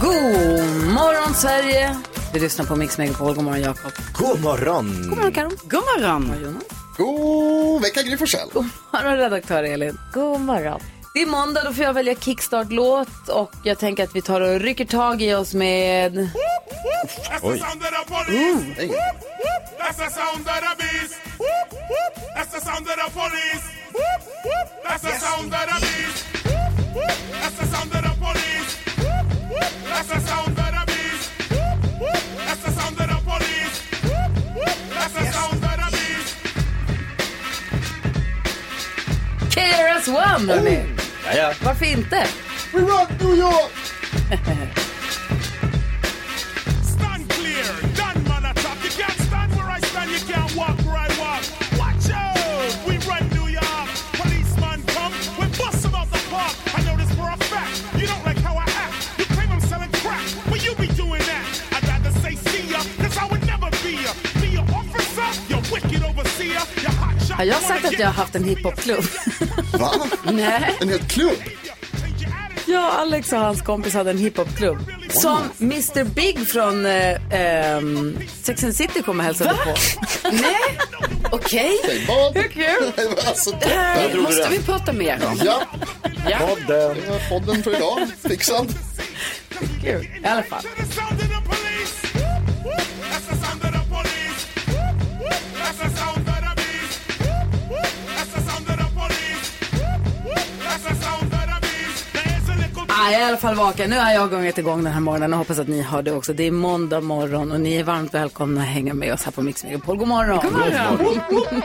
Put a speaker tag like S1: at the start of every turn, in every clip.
S1: God morgon Sverige! Du lyssnar på Mix Megapol. God morgon Jakob.
S2: God morgon!
S1: God morgon Karo. God morgon
S3: God vecka Gry Forssell.
S1: God morgon redaktör Elin. God morgon. Det är måndag, då får jag välja kickstart-låt och jag tänker att vi tar och rycker tag i oss med... Mm.
S4: Oj.
S1: Ooh.
S4: That's the sound of the beast. That's the sound of the police. That's the sound of the beast. That's the sound of the police. That's the sound of the beast. That's the sound of the police. That's the sound of the beast.
S1: KRS One! hörni.
S2: Ja, ja.
S1: Varför inte?
S4: We run New York. Stand clear. Done man attack. You can't stand where I stand. You can't walk where I walk. Watch out. We run New York. Policeman come. We bust them out the park. I know this for a fact. You don't like how I act. You claim I'm selling crack. But you be doing that. I'd rather say see ya. Cause I would never be ya. Be your officer. Your wicked overseer. Your hot shot.
S1: Har jag sagt att jag har haft en hiphopklubb?
S3: Va?
S1: Nej.
S3: En hel klubb?
S1: Jag, Alex och hans kompis hade en hiphopklubb. Som Mr Big från eh, ehm, Sex and City kom och hälsade på. Nej, okej.
S3: Säg vad?
S1: Hur kul?
S3: alltså,
S1: Det
S3: toppen.
S1: här
S2: drog du
S1: måste
S2: den.
S1: vi prata mer om.
S3: Ja,
S1: Ja,
S2: Podden.
S3: det var podden för idag. Fixad.
S1: kul. I alla fall.
S4: To the sound of the police. That's the sound of the police. That's the sound of the beast. That's the sound of the police. That's the sound of the beast. There's a little
S1: Ah, jag är i alla fall vaken. Nu har jag gångit igång den här morgonen och hoppas att ni har det också. Det är måndag morgon och ni är varmt välkomna att hänga med oss här på Mix Megapol. God morgon! God morgon!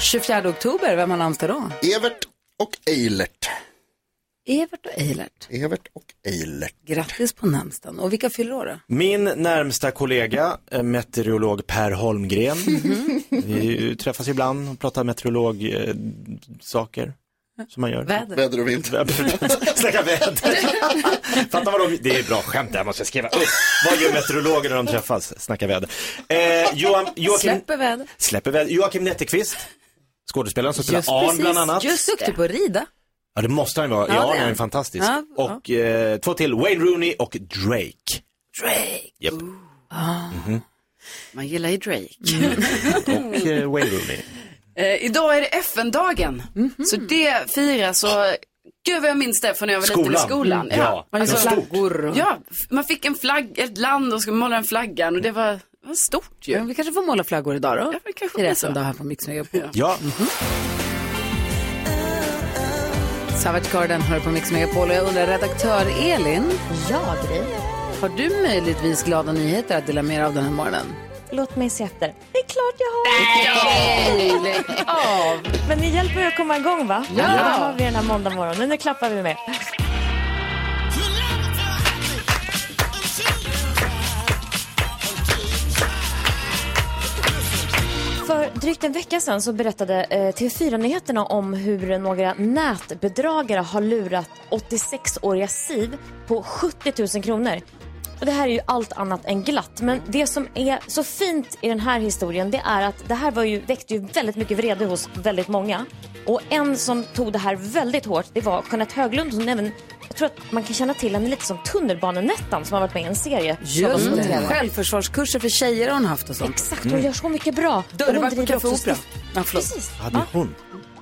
S1: ...24 oktober, vem har namnsdag då?
S3: Evert och Eilert.
S1: Evert och Eilert.
S3: Evert och Eilert.
S1: Grattis på namnsdagen. Och vilka fyller år då?
S2: Min närmsta kollega, eh, meteorolog Per Holmgren.
S1: Mhm.
S2: Vi träffas ibland och pratar meteorologsaker. Som man gör.
S1: Väder?
S3: Väder och vind.
S2: Snacka väder. Fattar vad de, det är bra skämt det här måste jag skriva upp. Vad gör meteorologer när de träffas? Snacka väder. Eh, Johan, Joakim,
S1: Släpper väder?
S2: släpper väder. Joakim Netteqvist, skådespelaren som spelar
S1: Just
S2: Arn
S1: precis,
S2: bland annat.
S1: just duktig på att rida.
S2: Ja det måste han ju vara,
S1: Ja, det
S2: ja,
S1: är
S2: han är
S1: han.
S2: ju fantastisk.
S1: Ja, ja.
S2: och eh, två till, Wayne Rooney och Drake.
S1: Drake.
S2: Japp.
S5: Man gillar ju Drake.
S2: Och eh, Wayne Rooney.
S5: Mm. Eh, idag är det FN-dagen. Så det firas och gud vad jag minns det från när jag var liten i skolan.
S2: Mm,
S5: Mm.
S2: Ja,
S5: alltså,
S1: Man gör
S2: det var stort.
S1: flaggor och...
S5: Ja, f- man fick en flagg, ett land och skulle måla den flaggan och det var, det var stort ju.
S1: Men vi kanske får måla flaggor idag då?
S5: Ja, men kanske
S1: I
S5: blir
S1: resten
S5: så.
S1: dag här på Mix Megapol. Mm-hmm.
S2: Ja,
S1: Savage Garden hör på Mix Megapol och jag undrar, redaktör Elin,
S6: Ja, Gry.
S1: har du möjligtvis glada nyheter att dela med dig av den här morgonen?
S6: Låt mig se efter. Det är klart jag har.
S1: Nej, lägg av!
S6: Men ni hjälper mig att komma igång, va? Ja! Det har vi den här måndag morgonen. Nu klappar vi med. För drygt en vecka sedan så berättade eh, TV4-nyheterna om hur några nätbedragare har lurat 86-åriga Siv på 70 000 kronor. Och det här är ju allt annat än glatt. Men det som är så fint i den här historien det är att det här var ju, väckte ju väldigt mycket vrede hos väldigt många. Och en som tog det här väldigt hårt det var Jeanette Höglund som även jag tror att man kan känna till henne lite som Tunnelbanenettan som har varit med i en serie.
S1: Just det. Självförsvarskurser för tjejer har hon haft och sånt. Mm.
S6: Exakt, hon gör så mycket bra. Och hon
S1: Dörrvakt på
S6: driver
S1: Café
S6: också
S1: Opera.
S6: stift-
S1: Ja, förlåt.
S6: Precis.
S2: ja, det är hon.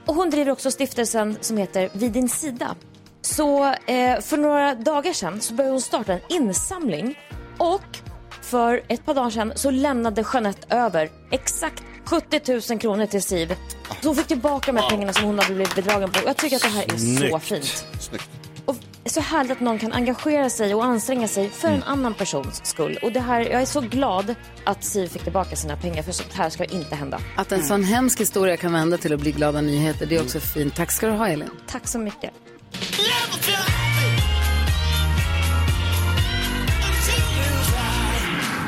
S6: Och hon driver också stiftelsen som heter Vid din sida. Så eh, för några dagar sedan så började hon starta en insamling och för ett par dagar sedan så lämnade Jeanette över exakt 70 000 kronor till Siv. Så hon fick tillbaka de här pengarna som hon hade blivit bedragen på. Jag tycker att det här är så
S2: Snyggt.
S6: fint.
S3: Snyggt.
S6: Och så härligt att någon kan engagera sig och anstränga sig för en annan persons skull. Och det här, jag är så glad att Siv fick tillbaka sina pengar för sånt här ska inte hända.
S1: Att en sån hemsk historia kan vända till att bli glada nyheter, det är också fint. Tack ska du ha, Elin.
S6: Tack så mycket.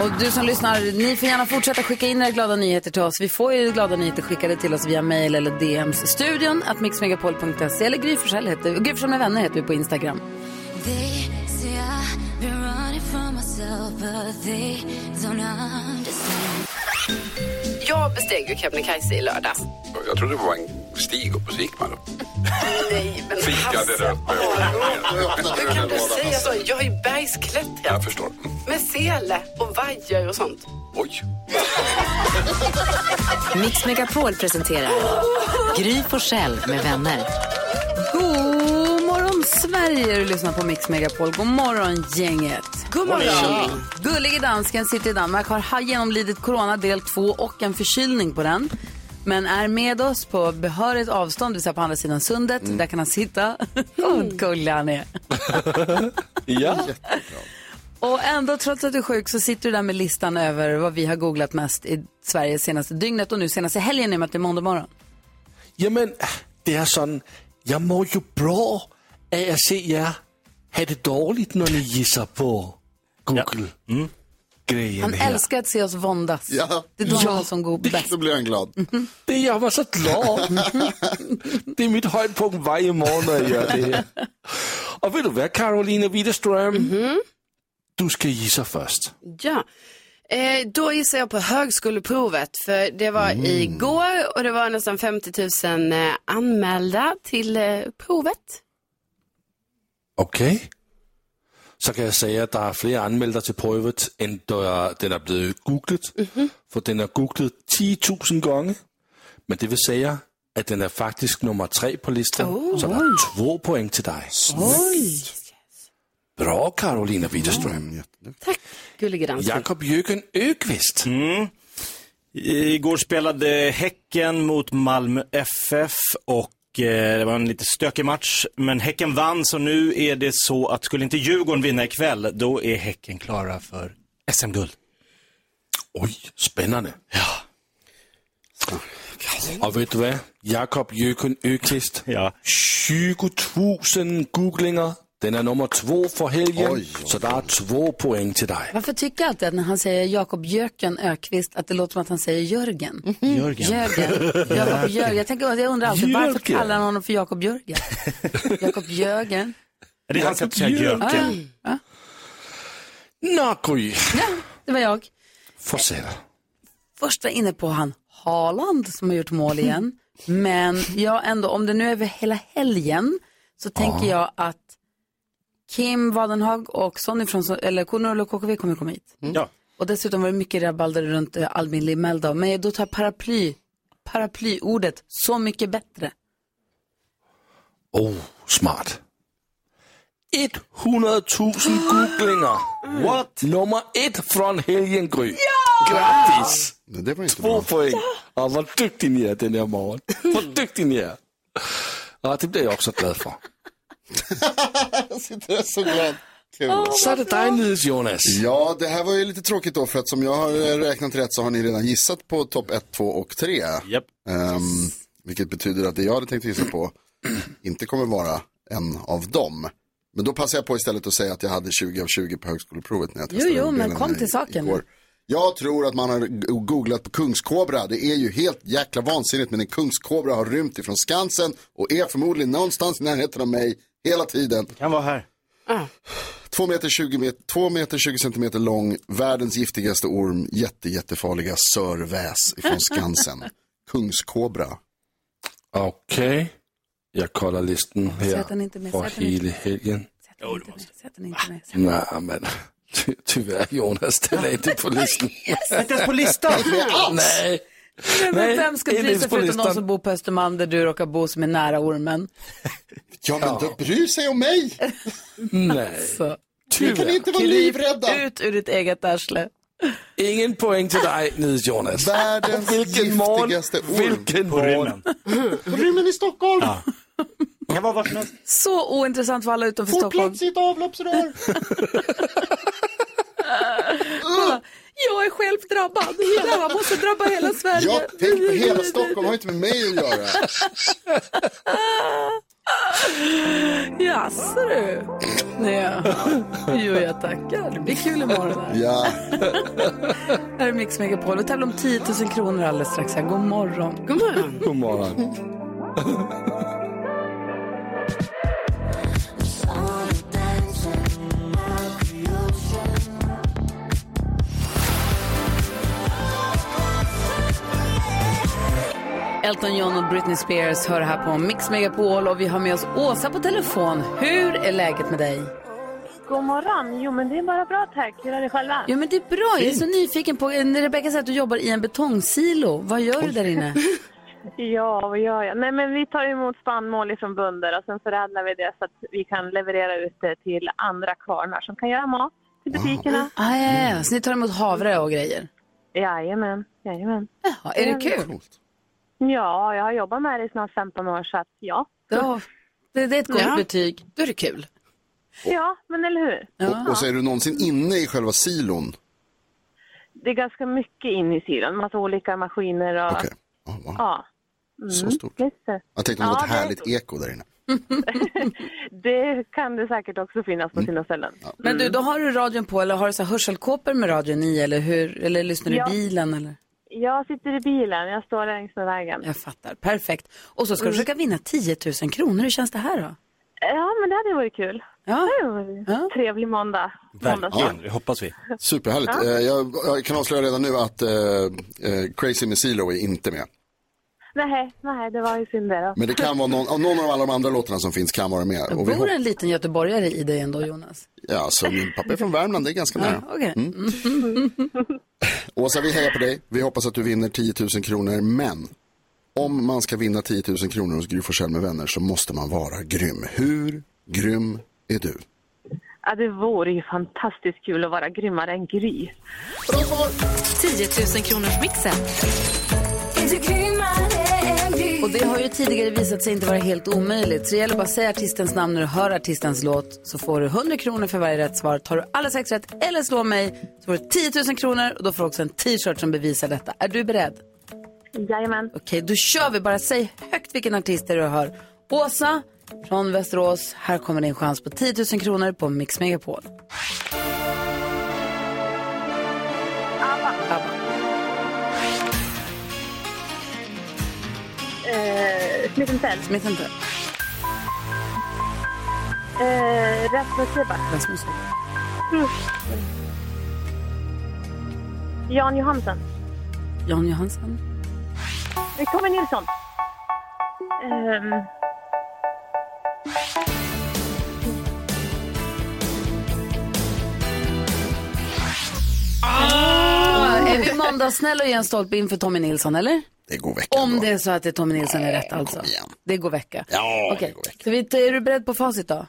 S1: Och du som lyssnar, ni får gärna fortsätta skicka in era glada nyheter till oss. Vi får ju glada nyheter skickade till oss via mail eller DMs. Studion att mixmegapol.se eller Gry Forssell heter Gry Forssell med vänner heter vi på Instagram.
S7: They say I've been running from myself, but they don't understand.
S5: Jag besteg ju Kebnekaise i lördags.
S8: Jag trodde det var en stig upp och så gick man upp.
S5: Nej, men
S8: Fika där uppe.
S5: Hur kan du säga så? Jag har ju bergsklättrat
S8: Jag förstår.
S5: med sele och vajer och sånt.
S8: Oj.
S9: Mix Megapol presenterar Gry Forssell med vänner.
S1: God morgon Sverige, du lyssnar på Mix Megapol. God morgon gänget. God
S5: morgon.
S1: Ja. Gullige dansken sitter i Danmark, har ha- genomlidit corona del 2 och en förkylning på den. Men är med oss på behörigt avstånd, det vill säga på andra sidan sundet. Där kan han sitta. Vad gullig han är.
S10: ja.
S1: Och ändå, trots att du är sjuk, så sitter du där med listan över vad vi har googlat mest i Sverige senaste dygnet och nu senaste helgen i och med att det är måndag morgon.
S10: Jamen, äh, det är sådan, jag mår ju bra av att se er ha det dåligt när ni gissar på Google-grejen
S1: Han älskar att se oss våndas.
S10: Mm. Ja.
S1: Det är då han
S10: Ja,
S1: är som går bäst. Mm-hmm.
S10: Då blir han glad. Det jag var så glad. det är mitt höjdpunkt varje morgon när jag gör det här. Och vet du vad, Carolina Widerström?
S1: Mm-hmm.
S10: Du ska gissa först.
S5: Ja. Eh, då gissar jag på högskoleprovet, för det var igår och det var nästan 50 000 eh, anmälda till eh, provet.
S10: Okej. Så kan jag säga att det är fler anmälda till provet än då jag- den har blivit googlet. För den har googlet 10 000 gånger. Men det vill säga att den är faktiskt nummer tre på listan. Så det är två poäng till dig.
S5: Oj.
S10: Bra Carolina Widerström.
S5: Gullige dansken.
S10: Jakob Jöken Ökvist.
S2: Mm. Igår spelade Häcken mot Malmö FF och eh, det var en lite stökig match. Men Häcken vann så nu är det så att skulle inte Djurgården vinna ikväll då är Häcken klara för SM-guld.
S10: Oj, spännande. Och vet du vad? Jakob Jöken Ökvist.
S2: Ja.
S10: 20 000 googlingar. Den är nummer två för helgen. Så det är två poäng till dig.
S1: Varför tycker jag alltid att när han säger Jakob Jöken Ökvist att det låter som att han säger Jörgen?
S10: Jörgen.
S1: Jörgen. Jakob Jörgen. Jag, tänker, jag undrar alltid varför
S2: Jörgen.
S1: kallar han honom för Jakob Jörgen? Jakob Jörgen.
S2: Det är hans sätt att säga Jöken.
S1: Ja,
S10: Nå, Gry.
S1: ja. ja, det var jag.
S10: Fortsätt.
S1: Först var jag inne på han Haaland som har gjort mål igen. Men jag ändå, om det nu är över hela helgen så tänker jag att Kim Wadenhag och Sonny från, eller Kornor och KKV kommer komma hit.
S2: Ja.
S1: Och dessutom var det mycket rabalder runt eh, Albin Limell då. Men då tar jag paraply, paraplyordet, så mycket bättre.
S10: Oh, smart. 100 000 googlingar. What? Nummer ett från helgen, Gry. Grattis!
S3: Det var inte
S10: Två poäng. Ja, vad duktig ni är den här morgonen. Vad duktig ni är. Ja, det blir jag också glad för.
S3: Jag sitter så glad. Kul.
S10: Så är det dig Nils Jonas.
S3: Ja, det här var ju lite tråkigt då för att som jag har eh, räknat rätt så har ni redan gissat på topp 1, 2 och 3.
S2: Yep.
S3: vilket betyder att det jag hade tänkt gissa på inte kommer vara en av dem. Men då passar jag på istället att säga att jag hade 20 av 20 på högskoleprovet när jag
S1: Jo,
S3: testade
S1: jo,
S3: den
S1: men
S3: delen
S1: kom
S3: i-
S1: till saken.
S3: igår. Jag tror att man har go- googlat på kungskobra. Det är ju helt jäkla vansinnigt, men en kungskobra har rymt ifrån Skansen och är förmodligen någonstans i närheten av mig hela tiden.
S2: Kan vara här.
S3: 2 meter 20, met- 2 meter 20 centimeter lång, världens giftigaste orm, jätte, jättefarliga sörväs ifrån Skansen. Kungskobra.
S10: Okej. Jag kollar listan här
S1: Sätt den inte med,
S10: för
S1: sätt den inte
S10: hela helgen.
S1: Sätt den inte med.
S10: Nej, men ty tyvärr Jonas, den är inte på listan.
S1: Inte ens på listan?
S10: Nej.
S1: Men
S10: Nej,
S1: vem ska
S10: inte
S1: bry
S10: ens
S1: sig
S10: på
S1: förutom
S10: listan.
S1: de som bor på Östermalm där du råkar bo som är nära ormen?
S3: Ja, men då bryr sig om mig.
S10: Nej.
S1: Så.
S10: Ni kan inte vara
S1: Kryp
S10: livrädda.
S1: ut ur ditt eget arsle.
S10: Ingen poäng till dig Nils Jonas.
S3: Världens
S10: Vilken morgon.
S3: giftigaste orm.
S10: Vilken morgon.
S3: Rymmen i Stockholm.
S2: Det kan vara vad som helst.
S1: Så ointressant för alla utanför
S4: Får
S1: Stockholm.
S4: plötsligt avloppsrör.
S1: Kolla, jag är själv drabbad. Det här måste drabba hela Sverige.
S3: Jag tänk på hela Stockholm, har inte med mig att göra.
S1: Jaså du? Nej. Jo, jag tackar. Det blir kul imorgon. Här,
S3: Ja.
S1: här är Mix Megapol. Vi tävlar om 10 000 kronor alldeles strax. Här. God morgon. God morgon.
S10: God morgon.
S1: Elton John och Britney Spears hör här på Mix Megapol och vi har med oss Åsa på telefon. Hur är läget med dig?
S11: God morgon. Jo, men det är bara bra tack. Hur är det själva?
S1: Jo men det är bra. Jag är så
S11: Fint.
S1: nyfiken på, Eh, när Rebecka säger att du jobbar i en betongsilo, vad gör du där inne?
S11: Ja, vad gör jag? Nej, men vi tar emot spannmål ifrån bönder och sen förädlar vi det så att vi kan leverera ut det till andra kvarnar som kan göra mat till butikerna.
S1: Ah, ja, ja, ja. Så ni tar emot havre och grejer?
S11: Jajamän, jajamän.
S1: Ja, är det kul?
S11: Ja, jag har jobbat med det i snart 15 år så att ja.
S1: Ja, det, det är ett gott
S11: Ja.
S1: betyg. Då är det kul.
S11: Ja, men eller hur?
S3: Och, och så är du någonsin inne i själva silon.
S11: Det är ganska mycket in i sidan, massa olika maskiner och...
S3: Okej.
S11: Ja.
S3: Så
S11: Mm,
S3: stort.
S11: lite.
S3: Jag tänkte om det var
S11: Ja,
S3: ett
S11: det är
S3: härligt eko där inne.
S11: Det kan det säkert också finnas på
S3: Mm.
S11: sina ställen.
S1: Men
S11: Mm.
S1: du, då har du radion på eller har du så här hörselkåpor med radion i eller hur? Eller lyssnar du
S11: Ja.
S1: i bilen eller?
S11: Jag sitter i bilen, jag står längs med vägen.
S1: Jag fattar, perfekt. Och så ska
S11: Mm.
S1: du försöka vinna 10 000 kronor, hur känns det här då?
S11: Ja, men det hade varit kul.
S1: Ja.
S11: Det hade varit Trevlig måndag.
S2: Verkligen, det hoppas vi.
S3: Superhärligt.
S11: Ja.
S3: Eh, Jag, jag kan avslöja redan nu att eh, eh, Crazy med Silo är inte med.
S11: Nej, nej, det var ju synd det då.
S3: Men det kan vara någon, av någon av alla de andra låtarna som finns kan vara med. Och vi
S1: Bor
S3: hop-
S1: en liten göteborgare i dig ändå Jonas?
S3: ja, så min pappa är från Värmland, det är ganska nära.
S11: Mm.
S3: Mm.
S1: Okej. Mm.
S3: Åsa, vi hejar på dig. Vi hoppas att du vinner 10 000 kronor, men om man ska vinna 10 000 kronor hos Gry Forssell med vänner så måste man vara grym. Hur grym är du?
S11: Ja, det vore ju fantastiskt kul att vara grymmare än Gry.
S9: 10 000 kronors mixen.
S1: Och det har ju tidigare visat sig inte vara helt omöjligt. Så det gäller bara att säga artistens namn när du hör artistens låt så får du 100 kronor för varje rätt svar. Tar du alla sex rätt eller slår mig så får du 10 000 kronor och då får du också en t-shirt som bevisar detta. Är du beredd?
S11: Jajamän.
S1: Okej, då kör vi. Bara säg högt vilken artist det är du hör. Åsa från Västerås, här kommer din chans på 10 000 kronor på Mix Megapol.
S11: Eh, Smith Tell.
S1: Smith Tell.
S11: Eh, Rasmus Seback.
S1: Rasmus Seback.
S11: Mm. Jan Johansson.
S1: Jan Johansson.
S11: Eh, Tommy Nilsson. Ehm.
S1: Ah, är vi måndagssnälla och ger en stolpe inför Tommy Nilsson, eller?
S3: Mm. Det går vecka.
S1: Om det är så att det är Tommy Nilsson är rätt alltså. Det går vecka.
S3: Ja, det
S1: Okej, så vi, är du beredd på facit då?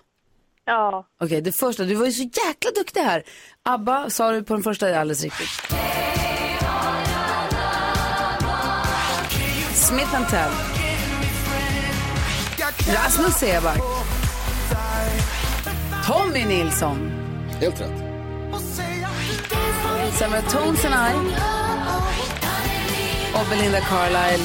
S11: Ja.
S1: Okej, det första. Du var ju så jäkla duktig här. ABBA sa du på den första, det är alldeles riktigt. Smith and Tell. Rasmus Seeback. Tommy Nilsson.
S3: Helt rätt.
S1: Sen var det Tones and I. Och Belinda Carlisle.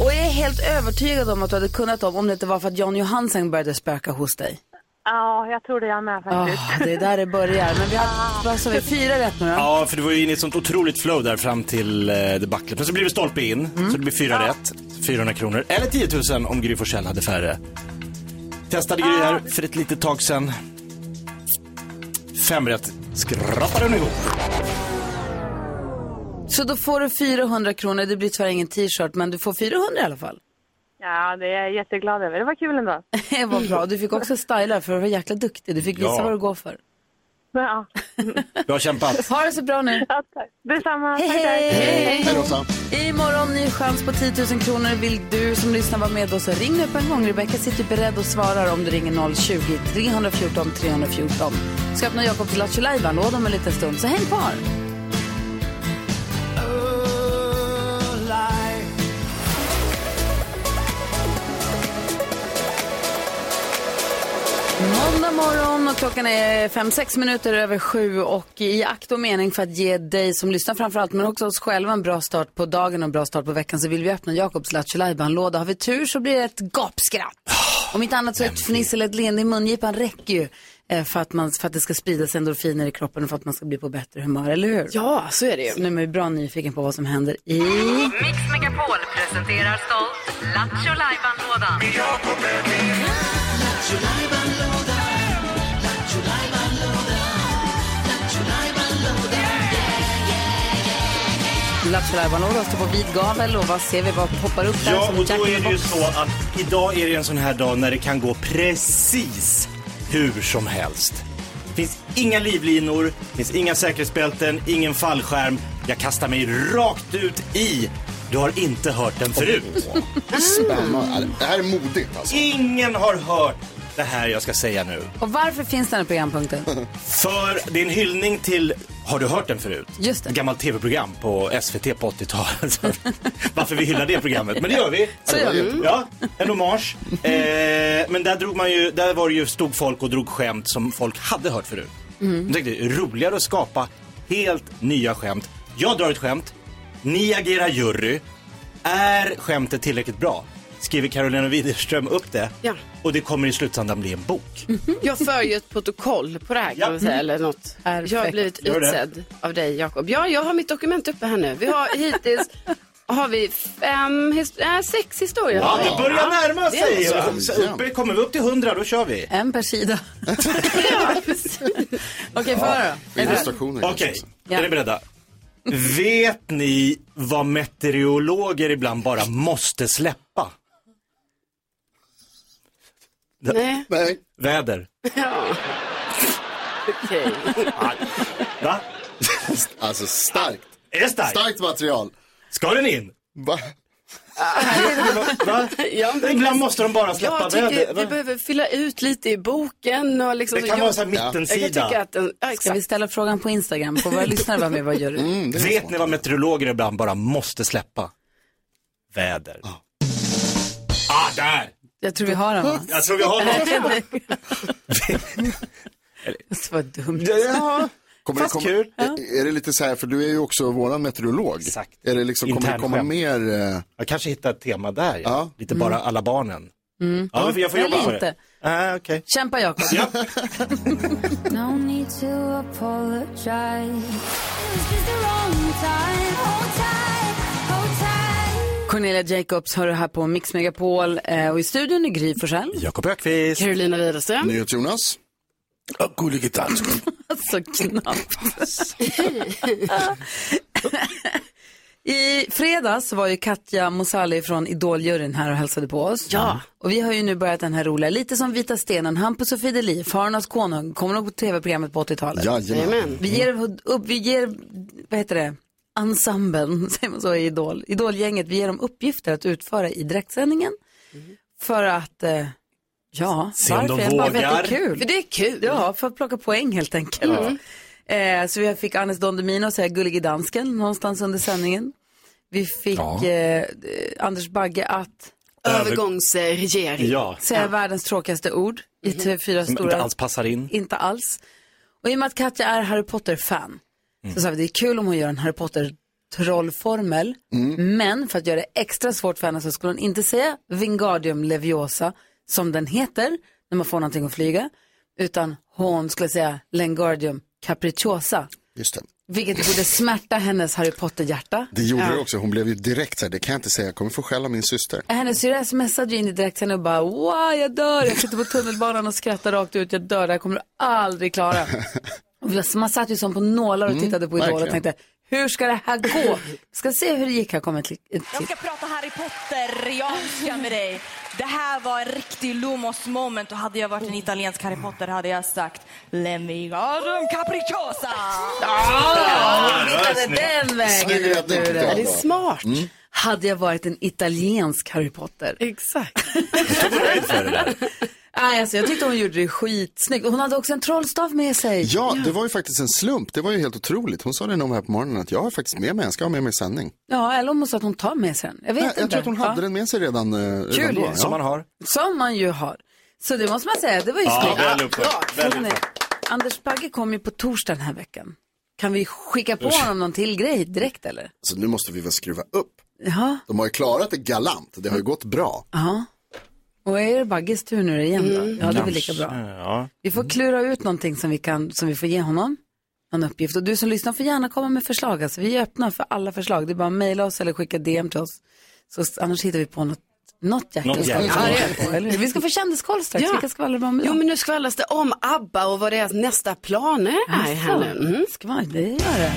S1: Och jag är helt övertygad om att du hade kunnat dem om det inte var för att Jan Johansen började spöka hos dig.
S11: Ja, jag tror det jag med
S1: Ah,
S11: faktiskt.
S1: det är där det börjar. Men vi har, vad sa vi, fyra rätt nu då?
S2: Ja, för du var ju inne i ett sånt otroligt flow där fram till eh, debaclet. Men så blir det stolpe in, så det blir fyra rätt. 400 kronor, eller 10 000 om Gry Forssell hade färre. Testade Gry här för ett litet tag sedan. Fem rätt skrapade hon ihop.
S1: Så då får du 400 kronor. Det blir tyvärr ingen t-shirt, men du får 400 i alla fall.
S11: Ja, det är jag jätteglad över. Det var kul ändå.
S1: Det var bra. Du fick också styla för du var jäkla duktig. Du fick visa
S2: Ja.
S1: vad du går för.
S11: Ja.
S2: Bra kämpat.
S1: Ha det så bra nu.
S11: Ja, tack. Detsamma.
S1: Hej,
S11: Tack, tack.
S1: hej.
S11: Hej. Hej,
S3: Rosa.
S1: Imorgon ny chans på 10 000 kronor. Vill du som lyssnar vara med oss så ring upp en gång. Rebecka sitter beredd och svarar om du ringer 020-314 314. Ska öppna Jakobs Lattjo Lajban-låda om en liten stund, så häng kvar. morgon och klockan är fem sex minuter över sju och i akt och mening för att ge dig som lyssnar framförallt men också oss själva en bra start på dagen och en bra start på veckan så vill vi öppna Jakobs Lattjo låda Har vi tur så blir det ett gapskratt.
S5: Ah,
S1: Om inte annat så ett fniss eller ett leende i mungipan räcker ju eh, för att, man, för att det ska spridas endorfiner i kroppen och för att man ska bli på bättre humör, eller hur?
S5: Ja, så är det ju.
S1: Så nu är man ju bra nyfiken på vad som händer i...
S9: Mix Megapol presenterar stolt Lattjo Lajban-lådan.
S1: Lattjo Lajban-låda står på vid gavel och vad ser vi, vad poppar upp där
S2: Ja,
S1: som
S2: och då
S1: Jack in
S2: är
S1: the
S2: det ju
S1: box?
S2: så att idag är det en sån här dag när det kan gå precis hur som helst. Det finns inga livlinor, det finns inga säkerhetsbälten, ingen fallskärm. Jag kastar mig rakt ut i. Du har inte hört den förut.
S1: Ah.
S3: Spännande. Det här är modigt alltså.
S2: Ingen har hört det här jag ska säga nu.
S1: Och varför finns den här programpunkten?
S2: För det är en hyllning till, har du hört den förut?
S1: Just det.
S2: Ett gammalt tv-program på SVT på 80-talet. Så Varför vi hyllar det programmet, men det gör vi.
S4: Så gör vi.
S2: Ja, en hommage. Eh, men där, drog man ju, där var det ju, stod folk och drog skämt som folk hade hört förut.
S4: Mm.
S2: Jag tänkte, roligare att skapa helt nya skämt. Jag drar ett skämt, ni agerar jury. Är skämtet tillräckligt bra? Skriver Carolina Widerström upp det.
S5: Ja.
S2: Och det kommer i slutändan bli en bok.
S5: Jag för ju ett protokoll på det här kan man säga, eller något. Jag har blivit
S2: Gör det.
S5: utsedd av dig Jakob. Ja, jag har mitt dokument uppe här nu. Vi har hittills har vi fem, his- äh, sex historier.
S2: Ja, det börjar närma
S5: det är
S2: sig.
S5: så.
S2: Så uppe, kommer vi upp till 100, då kör vi.
S1: En per sida. Okej, får jag höra då? Är du beredd?
S2: Okej, är ni beredda? Vet ni vad meteorologer ibland bara måste släppa?
S5: Nej.
S2: Väder.
S5: Ja. Okej.
S2: Va?
S3: Alltså starkt.
S2: Är det starkt?
S3: Starkt material.
S2: Ska den in?
S3: Va?
S2: Va?
S5: Ja, men-
S2: Ibland måste de bara släppa
S5: jag tycker
S2: väder.
S5: Vi
S2: Va?
S5: behöver fylla ut lite i boken. Och liksom,
S2: Det kan
S5: jag,
S2: vara så här mittensida.
S5: Jag kan tycka att den, ja,
S1: Ska vi
S5: exakt.
S1: ställa frågan på Instagram på våra lyssnare vad med vad gör du?
S3: Mm,
S2: Vet ni vad meteorologer ibland bara måste släppa? Väder. Ah, där!
S1: Jag tror vi har den va?
S2: Jag tror vi har något.
S1: Det var dumt.
S3: Ja.
S1: Kommer Fast
S3: komma,
S1: kul.
S3: Är, är det lite så här, för du är ju också våran meteorolog. Exakt. Är det liksom, kommer det komma
S2: Internskämt.
S3: mer? eh,
S2: Jag kanske hittar ett tema där. Ja. Lite
S3: Mm.
S2: bara alla barnen.
S1: Mm.
S2: Ja, men jag får
S1: Eller
S2: jobba på
S1: inte.
S2: det. Ah, okay.
S1: Kämpa Jakob.
S7: No need to apologize. It's just the wrong time. Hold tight, hold tight.
S1: Cornelia Jacobs hör du här på Mix Megapol eh, och i studion är Gry Forssell.
S2: Jakob Ökvist.
S5: Carolina Widerström.
S3: Jonas.
S10: Och gullige dansk.
S1: Alltså knappt. I fredags var ju Katja Mosali från Idoljuryn här och hälsade på oss. Ja. Och vi har ju nu börjat den här roliga, lite som Vita stenen, Hampus och Fideli, Farnas konung, kommer nog på tv-programmet på 80-talet.
S3: Jajamän. Jajamän.
S1: Vi ger, upp, vi ger, vad heter det, ensemblen, säger man så i Idol, Idolgänget, vi ger dem uppgifter att utföra i direktsändningen. För att, eh, ja,
S5: Se om de
S1: varför? Bara för
S5: vågar.
S1: att Det är kul.
S5: För det är kul.
S1: Ja, för att plocka poäng helt enkelt.
S5: Mm.
S1: Eh, så vi fick Anis Don Demino säga gullig dansken någonstans under sändningen. Vi fick
S5: Ja.
S1: eh, d- Anders Bagge att
S5: Övergångsregering.
S2: Ja.
S1: säga världens tråkigaste ord i TV4
S2: Som
S1: Stora.
S2: inte alls passar in.
S1: Inte alls. Och i och med att Katja är Harry Potter-fan
S2: Mm.
S1: så sa vi det är kul om hon gör en Harry Potter-trollformel.
S2: Mm.
S1: Men för att göra det extra svårt för henne så skulle hon inte säga Vingardium Leviosa som den heter när man får någonting att flyga. Utan hon skulle säga Lengardium Capricciosa.
S3: Just det.
S1: Vilket borde smärta hennes Harry Potter-hjärta.
S3: Det gjorde
S1: Ja.
S3: det också. Hon blev ju direkt så här, det kan jag inte säga, jag kommer få skälla min syster.
S1: Hennes syrra smsade ju in i direktsändning och bara wow jag dör, jag sitter på tunnelbanan och skrattar rakt ut, jag dör, det här kommer du aldrig klara. Och vi- Man satt ju som på nålar och
S6: Mm,
S1: tittade på Idol och
S6: verkligen.
S1: tänkte hur ska det här gå? Vi ska se hur det gick, här kommer ett klipp. ett
S12: Jag
S1: klipp.
S12: ska prata Harry Potter, jag önskar med dig. Det här var en riktig Lumos moment och hade jag varit en italiensk Harry Potter hade jag sagt Lemigarum capricciosa!
S1: Ah,
S12: Ja,
S1: hittade den vägen ut
S12: det
S1: ur
S12: är
S1: det.
S5: smart.
S1: Hade jag varit en italiensk Harry Potter.
S5: Exakt.
S1: Nej, alltså, jag tyckte hon gjorde det skitsnyggt. Och Hon hade också en trollstav med sig.
S3: Ja, det var ju faktiskt en slump. Det var ju helt otroligt. Hon sa det någon här på morgonen att jag har faktiskt med mig, jag ska ha med mig i sändning.
S1: Ja, eller om hon sa att hon tar med sig den. Jag vet
S3: Nej,
S1: inte.
S3: jag tror att hon hade den med sig redan, eh, redan
S1: Kul
S3: då.
S1: ju. Som man har. Som man ju har. Så det måste man säga, det var ju
S2: Ja,
S1: snyggt.
S2: väl uppfört,
S1: bra.
S2: väl
S1: Hörrni, Anders Bagge kom ju på torsdag den här veckan. Kan vi skicka på honom någon till grej direkt eller?
S3: Så nu måste vi väl skruva upp.
S1: Ja.
S3: De har ju klarat det galant. Det har ju gått bra.
S1: Ja. Och är det Bagges tur nu igen då?
S3: Mm.
S1: Ja, det är väl lika bra.
S2: Ja.
S1: Vi får klura ut någonting som vi, kan, som vi får ge honom. Någon uppgift. Och du som lyssnar får gärna komma med förslag. Alltså, vi är öppna för alla förslag. Det är bara att mejla oss eller skicka DM till oss. Så s- annars hittar vi på något, något jäkla
S5: Något
S1: vi ska
S5: jäkla.
S1: vara arga på, eller hur? Vi ska få kändiskoll strax. Vilka ska skvallrar om
S5: Jo, men nu skvallras det om ABBA och vad deras nästa planer är här nu. Mm.
S1: Skvall, det gör det.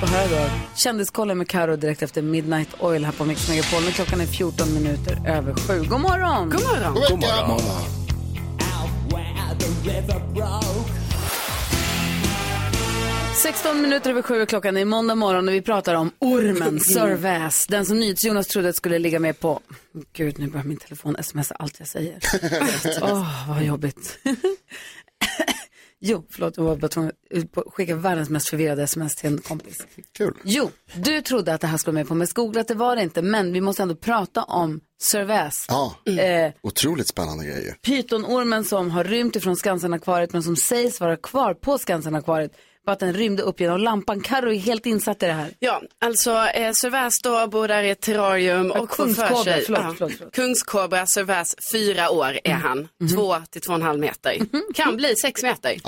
S1: Få höra då. Kändiskollen med Karo direkt efter Midnight Oil här på Mix Megapol. Nu klockan är 14 minuter över sju. God morgon! God
S5: morgon!
S1: God morgon.
S13: Where the river broke.
S1: 16 minuter över sju är klockan i måndag morgon och vi pratar om ormen Sir Väs. Den som NyhetsJonas trodde att skulle ligga med på... Gud, nu börjar min telefon smsa allt jag säger. Åh, vad jobbigt. jo, förlåt, jag var bara tvungen att ut på- skicka världens mest förvirrade sms till en kompis.
S3: Kul.
S1: Jo, du trodde att det här skulle med på men googlat det var det inte. Men vi måste ändå prata om Sir Väs.
S3: Ja,
S1: Eh,
S3: otroligt spännande grejer.
S1: Pytonormen som har rymt ifrån Skansenakvariet men som sägs vara kvar på Skansenakvariet. Bara att den rymde upp genom lampan. Carro är helt insatt i det här.
S5: Ja, alltså eh, Servais då bor där i ett terrarium
S1: Ja,
S5: och får för
S1: kungskobra,
S5: sig.
S1: förlåt,
S5: ja,
S1: förlåt, förlåt. Mm. Mm-hmm.
S5: Kungskobra, Servais, fyra år är han. Två till två och en halv meter. Kan bli sex meter.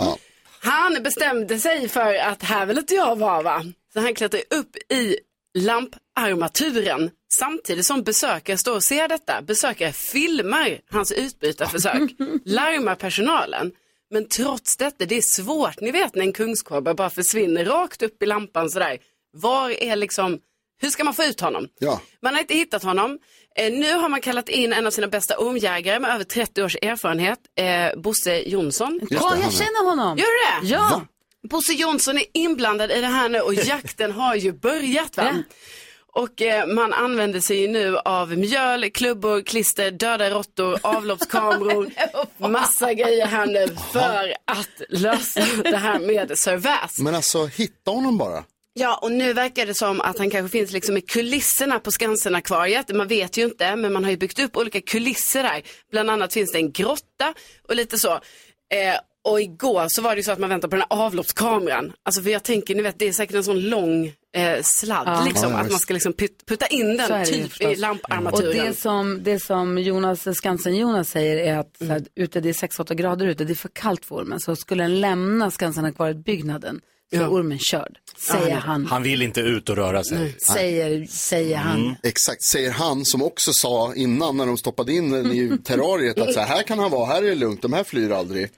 S5: Han bestämde sig för att här vill inte jag vara va. Så han klättrar upp i lamparmaturen samtidigt som besökare står och ser detta. Besökare filmar hans utbytarförsök, larmar personalen. Men trots detta, det är svårt, ni vet när en kungskobra bara försvinner rakt upp i lampan sådär. Var är liksom, hur ska man få ut honom?
S3: Ja.
S5: Man har inte hittat honom. Eh, nu har man kallat in en av sina bästa ormjägare med över 30 års erfarenhet, eh, Bosse Jonsson.
S1: det, Ja, jag han är- känner honom.
S5: Gör du det?
S1: Ja.
S5: Bosse Jonsson är inblandad i det här nu och jakten har ju börjat. Va? Och eh, man använder sig ju nu av mjöl, klubbor, klister, döda råttor, avloppskameror, massa grejer här nu för att lösa det här med Servais.
S3: Men alltså, hitta honom bara.
S5: Ja, och nu verkar det som att han kanske finns liksom i kulisserna på Skansenakvariet. Man vet ju inte, men man har ju byggt upp olika kulisser där. Bland annat finns det en grotta och lite så. Eh, och igår så var det ju så att man väntade på den här avloppskameran. Alltså för jag tänker, ni vet, det är säkert en sån lång eh, sladd
S1: Ja.
S5: liksom.
S1: Ja, ja,
S5: att man ska liksom put- putta in
S1: Så är
S5: den
S1: det ju
S5: typ i
S1: förstås.
S5: lamparmaturen.
S1: Och det som, det som Jonas, Skansen-Jonas säger är att så här, ute, det är 6-8 grader ute, det är för kallt för ormen. Så skulle den lämna Skansenakvariet-byggnaden så är ormen körd, säger han.
S2: Han vill inte ut och röra sig. Mm.
S1: Säger, säger han.
S3: Exakt, säger han som också sa innan när de stoppade in den i terrariet att så här, här kan han vara, här är det lugnt, de här flyr aldrig.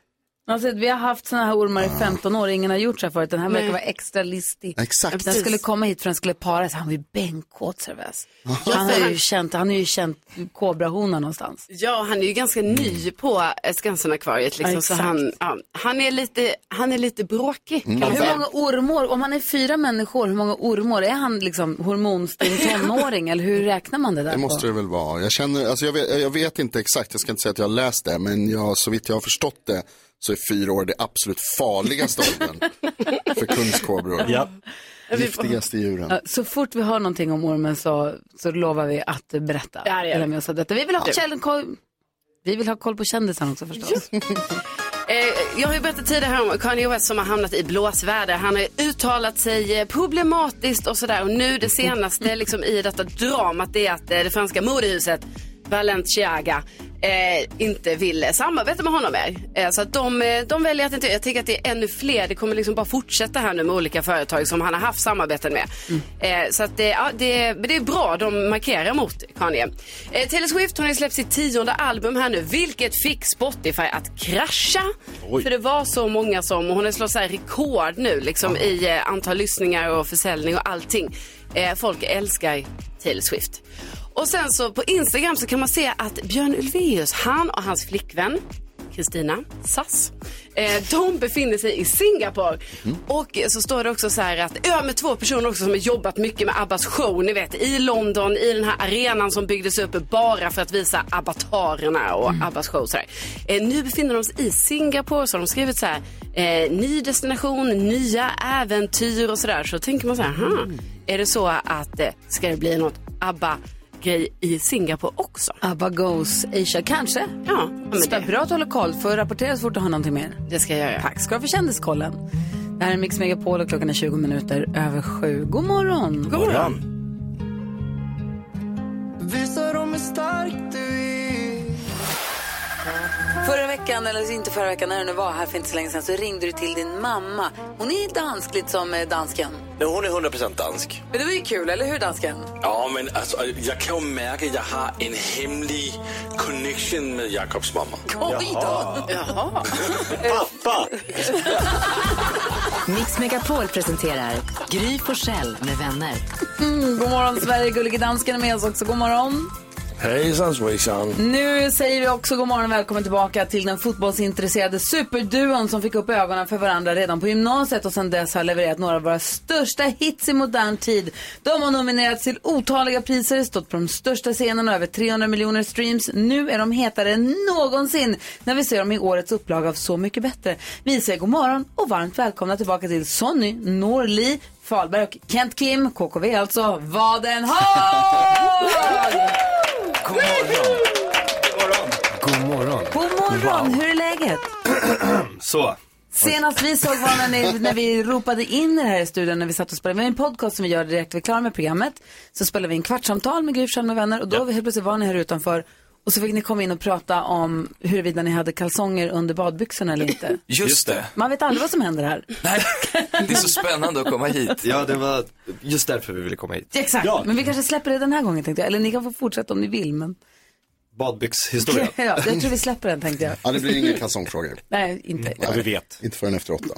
S1: Alltså, vi har haft sådana här ormar
S3: Ah.
S1: i 15 år, ingen har gjort så här förut. Den här
S5: Nej.
S1: verkar vara extra listig.
S3: Exakt.
S1: Den
S5: Precis.
S1: skulle komma hit för den skulle para sig, han var ju benkåt Cervez. Han,
S5: för
S1: har ju
S5: han-
S1: känt, han har ju känt kobrahona någonstans.
S5: Ja, han är ju ganska ny på eh, Skansenakvariet. Liksom,
S1: Ja,
S5: så
S1: exakt.
S5: han, ja, han, är lite, han är lite bråkig.
S3: Mm,
S5: Kan
S3: alltså.
S5: man
S1: Hur
S5: säga.
S1: många ormår, om han är fyra människor, hur många ormår? Är han liksom hormonstinn tonåring eller hur räknar man det där
S3: Det måste
S1: på?
S3: det väl vara. Jag, känner, alltså jag, vet, jag vet inte exakt, jag ska inte säga att jag har läst det, men jag, så vitt jag har förstått det så är fyra år det absolut farligaste åldern för kungskobror.
S2: Ja.
S3: Giftigaste djuren.
S1: Ja, Så fort vi hör någonting om ormen så, så lovar vi att berätta.
S5: Ja, det gör vi.
S1: Dela med oss av detta. Vi vill ha,
S5: Ja.
S1: källkoll- vi vill ha koll på kändisarna också förstås.
S5: Eh, jag har ju berättat tidigare här om Kanye West som har hamnat i blåsväder. Han har uttalat sig eh, problematiskt och sådär. Och nu det senaste liksom, i detta dramat det är att eh, det franska modehuset Balenciaga eh, inte vill samarbeta med honom mer. Eh, så att de, eh, de väljer att inte, jag tänker att det är ännu fler. Det kommer liksom bara fortsätta här nu med olika företag som han har haft samarbeten med. Eh, så att det, ja, det, men det är bra, de markerar mot Kanye. Eh, Taylor Swift hon har ju släppt sitt tionde album här nu, vilket fick Spotify att krascha.
S14: Oj.
S5: För det var så många som, och hon har slagit så här rekord nu liksom i eh, antal lyssningar och försäljning och allting. Eh, folk älskar Taylor Swift. Och sen så på Instagram så kan man se att Björn Ulvaeus, han och hans flickvän Kristina Sass. Eh, de befinner sig i Singapore.
S1: Mm.
S5: Och så står det också så här att, ja med två personer också som har jobbat mycket med Abbas show, ni vet i London, i den här arenan som byggdes upp bara för att visa abbatarerna och
S1: Mm.
S5: Abbas show. Så här. Eh, nu befinner de sig i Singapore så har de skrivit så här, eh, ny destination, nya
S1: Mm.
S5: äventyr och sådär. Så tänker man så här, "Aha, är det så att eh, ska det bli något Abba grej i Singapore också.
S1: ABBA Goes Asia, kanske.
S5: Ja, men
S1: det är bra att du håller koll, för rapportera så fort du har någonting mer.
S5: Det ska jag göra.
S1: Tack ska du ha för kändiskollen. Det här är Mix Megapol och klockan är 20 minuter över sju. God morgon!
S2: God morgon.
S1: Visa dem hur stark du är. Förra veckan, eller alltså inte förra veckan, när du nu var här för inte så länge sedan så ringde du till din mamma. Hon är dansk, lite som eh, dansken.
S14: Nej, Hon är 100% dansk.
S1: Men det var ju kul, eller hur dansken?
S14: Ja, men alltså, jag kan ju märka att jag har en hemlig connection med Jakobs mamma.
S1: Oj då!
S5: Jaha.
S14: Pappa!
S9: Mix Megapol presenterar Gry Forssell med vänner.
S1: Mm, god morgon Sverige, gullige dansken är med oss också. God morgon.
S10: Hejsan svejsan.
S1: Nu säger vi också god morgon och välkommen tillbaka till den fotbollsintresserade superduon som fick upp ögonen för varandra redan på gymnasiet och sedan dess har levererat några av våra största hits i modern tid. De har nominerats till otaliga priser, stått på de största scenerna och över 300 miljoner streams. Nu är de hetare än någonsin när vi ser dem i årets upplaga av Så mycket bättre. Vi säger god morgon och varmt välkomna tillbaka till Sonny Norli, Falberg och Kent Kim, KKV alltså, vad den har!
S15: God morgon. God morgon.
S1: God morgon, hur är läget?
S15: Så.
S1: Senast vi såg varandra när, när vi ropade in er här i studion när vi satt och spelade. Vi har en podcast som vi gör direkt vi är klara med programmet. Så spelar vi in kvartssamtal med Gryfsjön med vänner och då helt plötsligt var ni här utanför. Och så fick ni komma in och prata om huruvida ni hade kalsonger under badbyxorna eller inte.
S15: Just det.
S1: Man vet aldrig vad som händer här.
S15: Det är så spännande att komma hit. Ja, det var just därför vi ville komma hit.
S1: Exakt,
S15: Ja.
S1: men vi kanske släpper det den här gången tänkte jag. Eller ni kan få fortsätta om ni vill men.
S3: Badbyxhistorien.
S1: ja, jag tror vi släpper den tänkte jag.
S3: Ja, det blir ingen kalsongfrågor.
S1: Nej, inte.
S3: Ja, vi vet. Inte förrän efter åtta.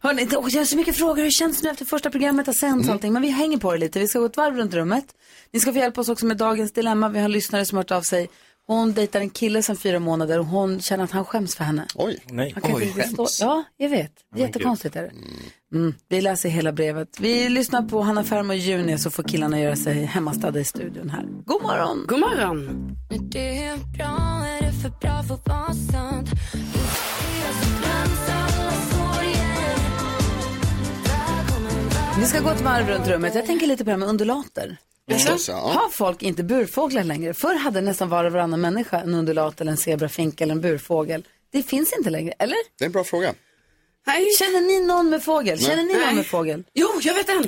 S1: Hörrni, det- åh, jag har så mycket frågor. Hur känns det nu efter första programmet har sänts och allting? Men vi hänger på det lite. Vi ska gå ett varv runt rummet. Ni ska få hjälpa oss också med dagens dilemma. Vi har en lyssnare som har hört av sig. Hon dejtar en kille sedan fyra månader och hon känner att han skäms för henne.
S3: Oj.
S2: Nej.
S1: Han kan inte riktigt stå- Ja, jag vet.
S2: Men gud.
S1: Jättekonstigt är det. Mm. Vi läser hela brevet. Vi lyssnar på Hanna Ferm och Junior så får killarna göra sig hemmastadda i studion här. God morgon!
S5: God morgon!
S7: Det är bra, är det för bra för att vara sant? Du ser så glans alla sorger.
S1: Vi ska gå ett varv runt rummet. Jag tänker lite på det här med undulater. Alltså,
S3: Förstås, ja.
S1: Har folk inte burfåglar längre? Förr hade nästan var och varannan människa en undulat eller en zebrafink eller en burfågel. Det finns inte längre, eller?
S3: Det är en bra fråga.
S1: Känner ni någon med fågel?
S5: Nej.
S1: Känner ni någon
S5: Nej.
S1: med fågel?
S5: Jo, jag vet en.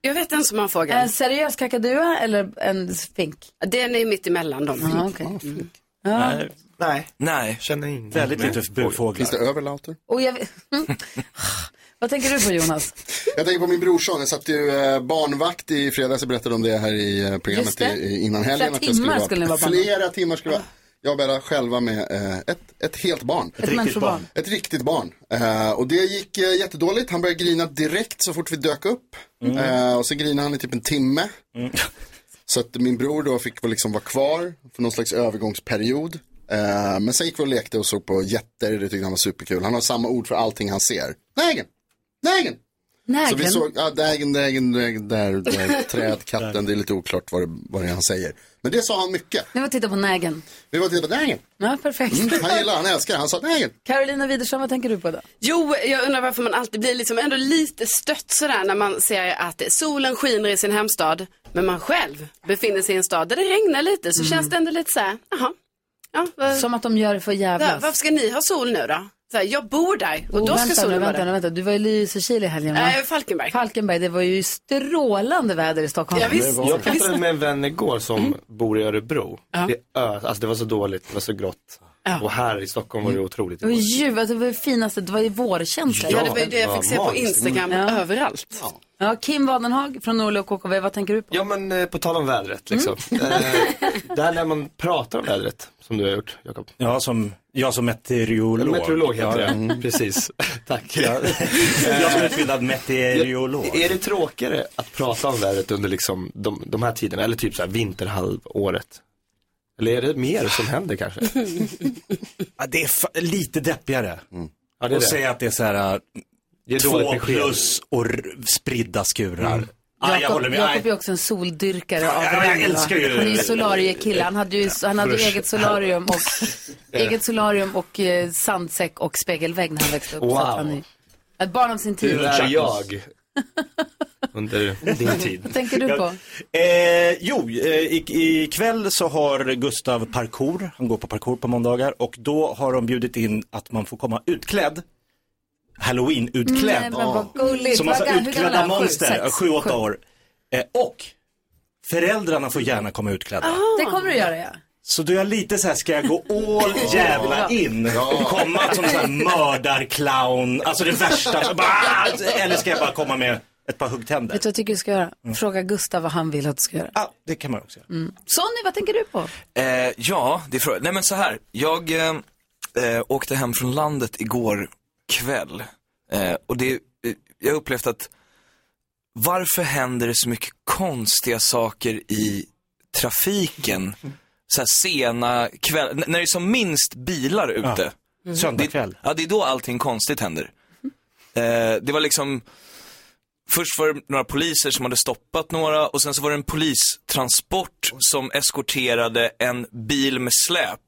S5: Jag vet en som har en fågel.
S1: En seriös kakadua eller en fink?
S5: Den är mitt emellan dem.
S1: Ja, okej. Mm. Ja.
S15: Nej. Nej. Känner inte.
S2: Väldigt lite burfåglar.
S3: Finns det överlauter?
S1: Och jag... vet- Mm. Vad tänker du på Jonas?
S3: Jag tänker på min brorson, jag satt ju eh, barnvakt i fredags, jag berättade om det här i eh,
S1: Just
S3: programmet i,
S1: det.
S3: i- innan helgen.
S1: Flera
S3: att jag
S1: timmar skulle ni vara på
S3: Flera timmar skulle jag vara. Jag och Bella själva med eh, ett, ett helt barn.
S1: Ett riktigt människobarn. barn.
S3: Ett riktigt barn. Eh, och det gick eh, jättedåligt, han började grina direkt så fort vi dök upp.
S1: Mm.
S3: Eh, och så grinade han i typ en timme. Så att min bror då fick väl liksom vara kvar för någon slags övergångsperiod. Eh, men sen gick vi och lekte och såg på jätter, det tyckte han var superkul. Han har samma ord för allting han ser. Nägen! Nägen! Så vi
S1: Nägen?
S3: såg, ja, nägen, nägen, nägen, där, där, träd, katten, det är lite oklart vad det, vad det är han säger. Men det sa han mycket.
S1: Nu var titta på nägen.
S3: Vi var och tittade på nägen.
S1: Ja, perfekt.
S3: Mm, han gillar, han älskar, han sa nägen.
S1: Carolina Widerström, vad tänker du på då?
S5: Jo, jag undrar varför man alltid blir liksom ändå lite stött sådär när man ser att solen skiner i sin hemstad, men man själv befinner sig i en stad där det regnar lite, så känns det ändå lite såhär, jaha. Ja, vad-
S1: Mm. Som att de gör det för
S5: där,
S1: jävlas.
S5: varför ska ni ha sol nu då? Så här, jag bor där och
S1: Oh,
S5: då ska
S1: vänta, nu,
S5: solen vara
S1: vänta, nu,
S5: där.
S1: vänta. Du var i Lysekil i helgen va?
S5: Nej, Falkenberg.
S1: Falkenberg, det var ju strålande väder i Stockholm.
S15: Jag pratade med en vän igår som bor i Örebro. Det, ö, alltså det var så dåligt, det var så grått. Och här i Stockholm var det otroligt.
S1: Det var ljuv, alltså, det var det finaste, det var ju vårkänsla.
S15: Ja, Mm. Mm. det var ju det jag fick se på Instagram
S5: överallt.
S1: Ja. ja, Kim Wadenhag från Norli och KKV, vad tänker du på?
S15: Ja men eh, på tal om vädret liksom. eh, där när man pratar om vädret, som du har gjort Jakob.
S2: Ja, som, jag som meteorolog.
S15: Meteorolog
S2: Ja,
S15: heter det,
S2: mm.
S15: precis. Tack.
S2: Jag som är utbildad meteorolog.
S15: Är det tråkigare att prata om vädret under liksom de, de här tiderna, eller typ så här vinterhalvåret? Eller är det mer som händer kanske?
S2: Ja, det är fa- lite deppigare.
S15: Mm. Ja, det är
S2: och
S15: det.
S2: säga att det är så här, äh,
S15: Det är dåligt
S2: två
S15: besked.
S2: plus och r- spridda skurar.
S15: Mm.
S2: Ah, jag
S1: Jakob-
S2: håller med.
S1: Jakob
S2: Nej.
S1: är också en soldyrkare av
S2: Ja, jag
S1: rang, va?
S2: älskar ju-
S1: Han är ju solariekille. Han hade ju han hade ju
S2: Usch.
S1: eget solarium och, eget solarium och eh, sandsäck och spegelvägg när han växte upp. Så att
S15: Wow.
S1: han är ett barn av sin tid.
S15: Hur är jag under din tid.
S1: tänker du på?
S2: Eh, jo, eh, i- ikväll så har Gustav parkour, han går på parkour på måndagar och då har de bjudit in att man får komma utklädd, halloween-utklädd.
S16: Nej, Mm, men vad gulligt.
S2: Som massa
S16: Vad ga- hur gammal är
S2: utklädda
S16: han? Sju,
S2: monster,
S16: sex,
S2: sju, åtta
S16: sju.
S2: år. Eh, och föräldrarna får gärna komma utklädda.
S16: Ah.
S1: Det kommer du göra ja.
S2: Så då är jag lite så här, ska jag gå all jävla in och komma som så här mördarclown, alltså det värsta, så bara, ah! eller ska jag bara komma med ett par huggtänder?
S1: Vet du vad jag tycker du ska göra?
S2: Mm.
S1: Fråga Gustav vad han vill att du ska göra.
S2: Ja, det kan man också göra.
S1: Mm. Sonny, vad tänker du på?
S17: Eh, ja, det är frågan. Nej men så här. Jag eh, eh, åkte hem från landet igår kväll. Eh, och det, eh, jag har upplevt att varför händer det så mycket konstiga saker i trafiken? Så här sena kväll, n- när det är som minst bilar ute.
S2: Mm. Söndagkväll.
S17: Det, ja, det är då allting konstigt händer. Eh, det var liksom, först var det några poliser som hade stoppat några och sen så var det en polistransport som eskorterade en bil med släp.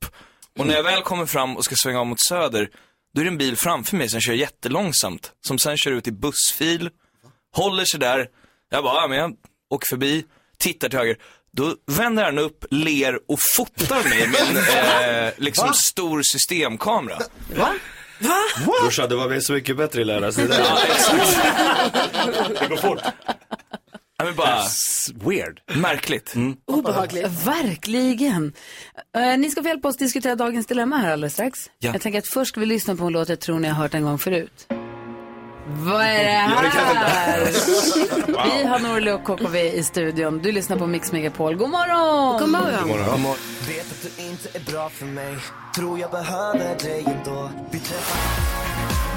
S17: Och när jag väl kommer fram och ska svänga om mot söder, då är det en bil framför mig som kör jättelångsamt. Som sen kör ut i bussfil, håller sig där. Jag bara, ja men jag åker förbi, tittar till höger. Då vänder han upp, ler och fotar mig med en eh, liksom
S15: Va?
S17: stor systemkamera.
S15: Va? Va? Brorsan, det var väl så mycket bättre i lördags. det där.
S2: Det går fort.
S17: Ja, men bara...
S2: weird.
S17: Märkligt.
S2: Mm.
S1: Obehagligt. Verkligen. Eh, ni ska få hjälpa oss diskutera dagens dilemma här alldeles strax.
S17: Ja.
S1: Jag tänker att först ska vi lyssna på en låt jag tror ni har hört en gång förut. Vad är det här? Vi har Norli och KKV i studion. Du lyssnar på Mix Megapol. God morgon!
S16: God morgon.
S1: God morgon.
S13: Vet att du inte är bra för mig Tror jag behöver dig ändå Vi träffas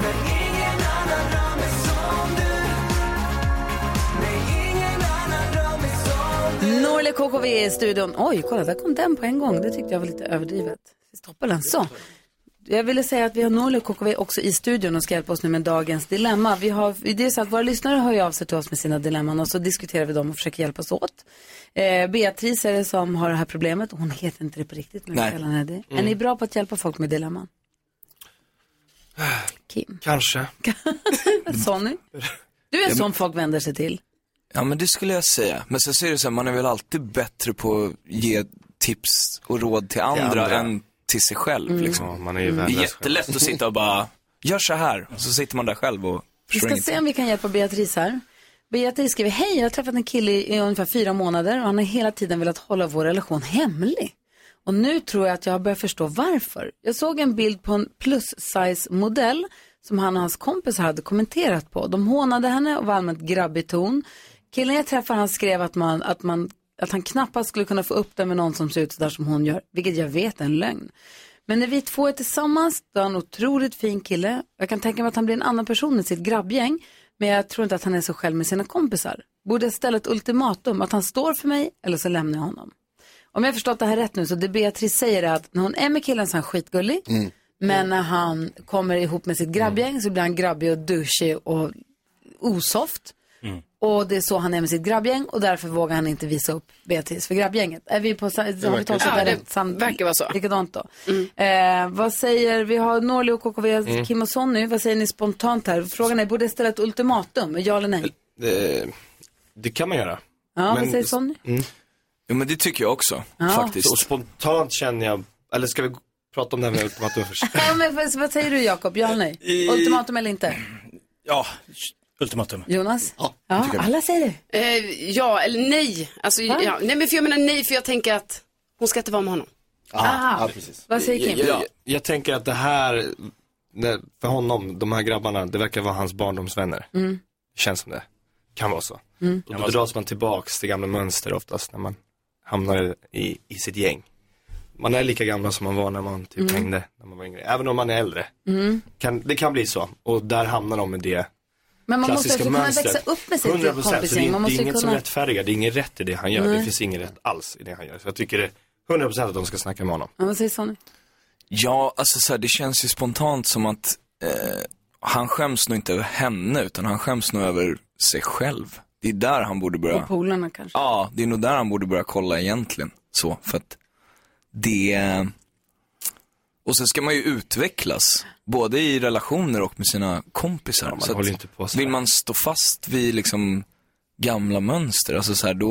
S13: Men ingen annan rör mig som du Nej, ingen annan rör mig som
S1: Norli och KKV i studion. Oj, kolla, där kom den på en gång. Det tyckte jag var lite överdrivet. Stoppa den. Så. Jag ville säga att vi har Norli och KKV också i studion och ska hjälpa oss nu med dagens dilemma. Vi har, det är så att våra lyssnare hör ju av sig till oss med sina dilemman och så diskuterar vi dem och försöker hjälpas åt. Eh, Beatrice är det som har det här problemet. Hon heter inte det på riktigt, men vi
S13: Nej.
S1: kallar henne det. Är
S13: Mm.
S1: ni bra på att hjälpa folk med dilemman? Kim.
S15: Kanske.
S1: Sonny? Du
S17: Ja,
S1: är
S17: men-
S1: sån folk vänder sig till.
S17: Ja men det skulle jag säga. Men sen så är det så här, man är väl alltid bättre på att ge tips och råd till andra,
S15: andra.
S17: än till sig själv
S1: Mm.
S17: liksom.
S15: Ja, man är ju
S17: det är
S15: värdelös
S17: jättelätt att sitta och bara, gör så här. Och så sitter man där själv och
S1: Vi
S17: förstår
S1: ska
S17: ingenting.
S1: se om vi kan hjälpa Beatrice här. Beatrice skriver, hej, jag har träffat en kille i i ungefär fyra månader och han har hela tiden velat hålla vår relation hemlig. Och nu tror jag att jag har börjat förstå varför. Jag såg en bild på en plus size modell som han och hans kompisar hade kommenterat på. De hånade henne och var allmänt grabbig ton. Killen jag träffade han skrev att, man, att, man, att han knappast skulle kunna få upp den med någon som ser ut sådär som hon gör, vilket jag vet är en lögn. Men när vi två är tillsammans, då är han en otroligt fin kille. Jag kan tänka mig att han blir en annan person i sitt grabbgäng, men jag tror inte att han är så själv med sina kompisar. Borde jag ställa ett ultimatum, att han står för mig eller så lämnar jag honom? Om jag förstått det här rätt nu, så det Beatrice säger är att när hon är med killen så är han skitgullig,
S13: Mm.
S1: men när han kommer ihop med sitt grabbgäng så blir han grabbig och douchig och osoft.
S13: Mm.
S1: Och det är så han är med sitt grabbgäng och därför vågar han inte visa upp Beatrice för grabbgänget. Är vi på, sa- har vi
S13: verkar
S1: tolkat
S13: så.
S1: det
S13: Ja, det
S1: rätt? Sam- verkar vara så. Likadant då.
S5: Mm.
S1: Eh, vad säger, vi har Norli och KKV,
S15: Mm.
S1: Kim och Sonny, vad säger ni spontant här? Frågan är, borde jag ställa ett ultimatum? Ja eller nej?
S15: Det, det kan man göra.
S1: Ja, vad säger Sonny?
S15: Mm.
S17: Ja men det tycker jag också,
S1: Ja. faktiskt.
S15: Och spontant känner jag, eller ska vi gå- prata om det här med ultimatum först?
S1: Ja, men vad- vad säger du Jakob, ja eller nej?
S15: Eh,
S1: Ultimatum eller inte?
S2: Ja, ultimatum.
S1: Jonas?
S2: Ja,
S1: Ja,
S2: tycker jag.
S1: alla säger det.
S5: Eh, ja, eller nej. Alltså,
S1: Va?
S5: ja, nej, men för jag menar nej, för jag tänker att hon ska inte vara med honom.
S1: Ah,
S15: precis.
S1: vad säger Kim?
S15: Jag, jag, jag tänker att det här, när- för honom, de här grabbarna, det verkar vara hans barndomsvänner.
S1: Mm.
S15: Känns som det. Kan vara så.
S1: Mm.
S15: Och då
S7: alltså-
S15: dras man tillbaks till gamla mönster oftast när man hamnar i, i sitt gäng. Man är lika gamla som man var när man typ
S1: Mm.
S15: hängde, när man var yngre. Även om man är äldre.
S1: Mm.
S15: Kan, det kan bli så. Och där hamnar de med det
S1: Men man måste
S15: klassiska
S1: också kunna
S15: mönstret.
S1: växa upp med sitt
S15: 100%, så Det
S1: kompisgäng.
S15: är,
S1: Man måste
S15: det är
S1: ju
S15: inget som
S1: kunna... Mm.
S15: rättfärdigar, det är inget rätt i det han gör.
S1: Nej.
S15: Det finns inget rätt alls i det han gör. Så jag tycker det är 100% att de ska snacka med honom.
S1: Ja, vad säger Sonny?
S17: Ja, alltså så här, det känns ju spontant som att eh, han skäms nog inte över henne, utan han skäms nog över sig själv. Det är där han borde börja.
S1: Och polarna kanske?
S17: Ja, det är nog där han borde börja kolla egentligen. Så, för att det... Och sen ska man ju utvecklas, både i relationer och med sina kompisar.
S15: man
S17: Så att
S15: håller inte på så
S17: vill man stå fast vid liksom gamla mönster, alltså så här, då,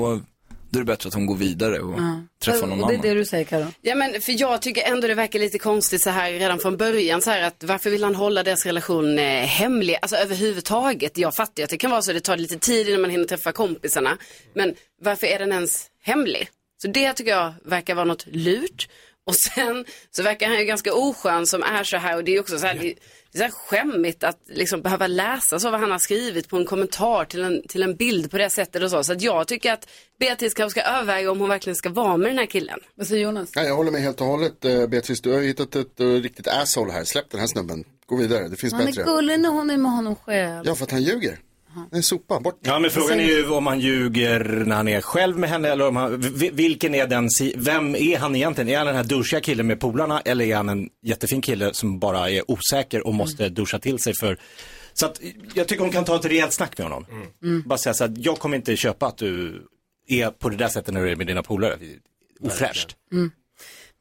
S17: då är det bättre att hon går vidare och träffar någon
S1: och det är
S17: annan.
S1: det du säger Karo.
S5: Ja, men för jag tycker ändå det verkar lite konstigt så här redan från början så här att varför vill han hålla deras relation eh, hemlig? Alltså överhuvudtaget. Jag fattar ju att det kan vara så, det tar lite tid innan man hinner träffa kompisarna. Men varför är den ens hemlig? Så det tycker jag verkar vara något lurt. Och sen så verkar han ju ganska oskön som är så här och det är också så här, det det är så här skämmigt att liksom behöva läsa så vad han har skrivit på en kommentar till en, till en bild på det sättet och så. Så att jag tycker att Beatrice kanske ska överväga om hon verkligen ska vara med den här killen.
S1: Vad säger Jonas?
S3: Ja, jag håller med helt och hållet. eh, Beatrice, du har ju hittat ett eh, riktigt asshole här. Släpp den här snubben. Gå vidare, det finns
S1: Han
S3: bättre.
S1: är gullig när hon är med honom själv.
S3: Ja, för att han ljuger. En sopa, bort.
S2: Ja, men frågan är ju om han ljuger när han är själv med henne eller om han, vi- vilken är den, si- vem är han egentligen? Är han den här duschiga killen med polarna eller är han en jättefin kille som bara är osäker och måste duscha till sig för så att jag tycker hon kan ta ett rejält snack med honom. Bara säga så att jag kommer inte köpa att du är på det där sättet när du är med dina polare. Ofräscht.
S1: Mm.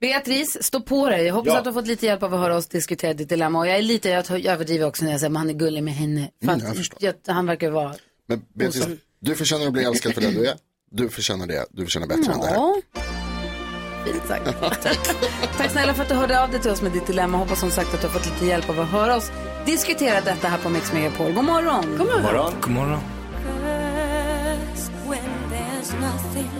S1: Beatrice, stå på dig. Jag hoppas
S2: Ja.
S1: att du har fått lite hjälp av att höra oss diskutera ditt dilemma. Och jag är lite, jag överdriver också när jag säger att han är gullig med henne. För
S3: Mm,
S1: att
S3: jag förstår.
S1: jag- han verkar vara...
S3: Men Beatrice,
S1: Osam.
S3: du förtjänar att bli älskad för den du är. Du förtjänar det. Du förtjänar bättre än det här.
S1: Ja. Fint sagt. Tack. Tack snälla för att du hörde av dig till oss med ditt dilemma. Hoppas som sagt att du har fått lite hjälp av att höra oss diskutera detta här på Mix Megapol. God morgon. God
S17: God morgon. God morgon.
S7: Cause when there's nothing.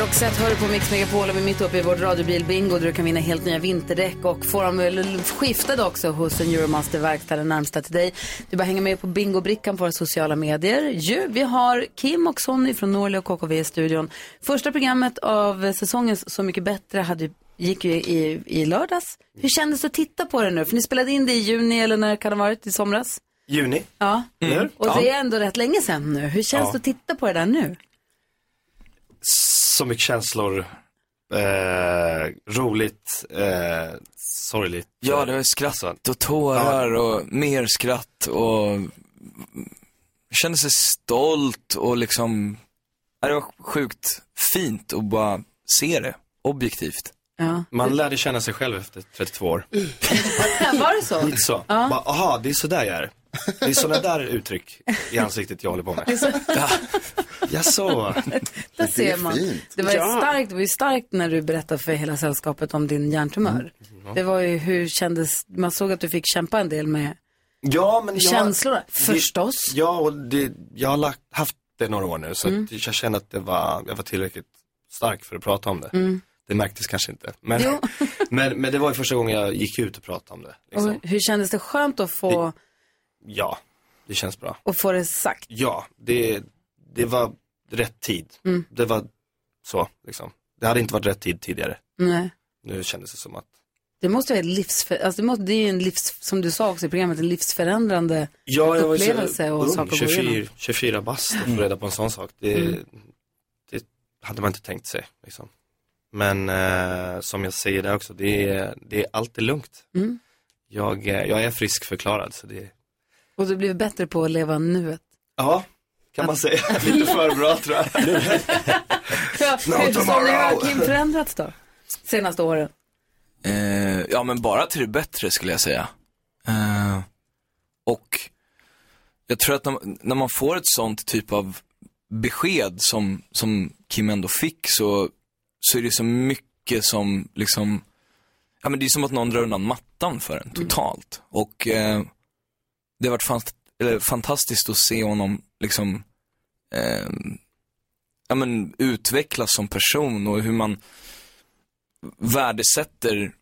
S1: Roxette hör du på Mix Megapol och vi är mitt uppe i vårt radiobilbingo där du kan vinna helt nya vinterdäck och får dem väl skiftade också hos en Euromaster-verkstad den närmsta till dig. Du bara hänger med på bingobrickan på våra sociala medier. Ju, vi har Kim och Sonny från Norli och KKV i studion. Första programmet av säsongens Så mycket bättre hade, gick ju i, i lördags. Hur kändes det att titta på det nu? För ni spelade in det i juni eller när kan det ha varit? I somras?
S15: Juni.
S1: Ja.
S15: Mm.
S1: Och det
S15: Ja.
S1: är ändå rätt länge sedan nu. Hur känns
S15: Ja.
S1: det att titta på det där nu?
S15: Så mycket känslor. Eh, roligt, eh, sorgligt.
S17: Ja, det var skratt och tårar och mer skratt och jag kände sig stolt och liksom, Ja, det var sjukt fint att bara se det objektivt.
S1: Ja.
S15: Man lärde känna sig själv efter 32 år.
S1: Var det så?
S15: Lite så.
S1: Ja.
S15: Bara, aha, det är sådär jag är. Det är sådana där uttryck i ansiktet jag håller på med. Ja. Ja, så.
S1: Där ser man. Det var, ju
S5: Ja.
S1: starkt, det var ju starkt när du berättade för hela sällskapet om din hjärntumör.
S15: Ja.
S1: Det var ju hur kändes, man såg att du fick kämpa en del med.
S15: Ja, men jag,
S1: Känslor,
S15: det-
S1: förstås.
S15: Ja, och det, jag har lagt, haft det några år nu så
S1: Mm.
S15: att jag kände att det var, jag var tillräckligt stark för att prata om det.
S1: Mm.
S15: Det märktes kanske inte. Men, men, men det var ju första gången jag gick ut och pratade om det. Liksom.
S1: Och hur kändes det skönt att få,
S15: Ja, det känns bra.
S1: att få det sagt?
S15: Ja, det, det var rätt tid.
S1: Mm.
S15: Det var så, liksom. Det hade inte varit rätt tid tidigare.
S1: Nej.
S15: Nu kändes det som att,
S1: Det måste vara ett livsför, alltså det, måste, det är ju en livs, som du sa också i programmet, en livsförändrande
S15: ja, jag var ju så
S1: upplevelse och
S15: ung,
S1: saker att gå
S15: 24,
S1: igenom.
S15: 24 bast och få reda på en sån sak. Det, det hade man inte tänkt sig, liksom. Men eh, som jag säger där också, det är, det är alltid lugnt.
S1: Mm.
S15: Jag, eh, jag är friskförklarad, så det
S1: Och du blev bättre på att leva nuet.
S15: Ja, kan man säga. Lite för bra tror jag.
S1: Ja,
S17: No
S1: hur- som
S17: tomorrow.
S1: nu har Kim förändrats då? Senaste åren?
S17: Eh, ja, men bara till det bättre skulle jag säga. Eh, och jag tror att när, när man får ett sånt typ av besked som, som Kim ändå fick så, så är det så mycket som liksom, ja men det är som att någon drar undan mattan för en totalt. Och eh, det har varit fant- eller, fantastiskt att se honom liksom eh, ja, men, utvecklas som person och hur man värdesätter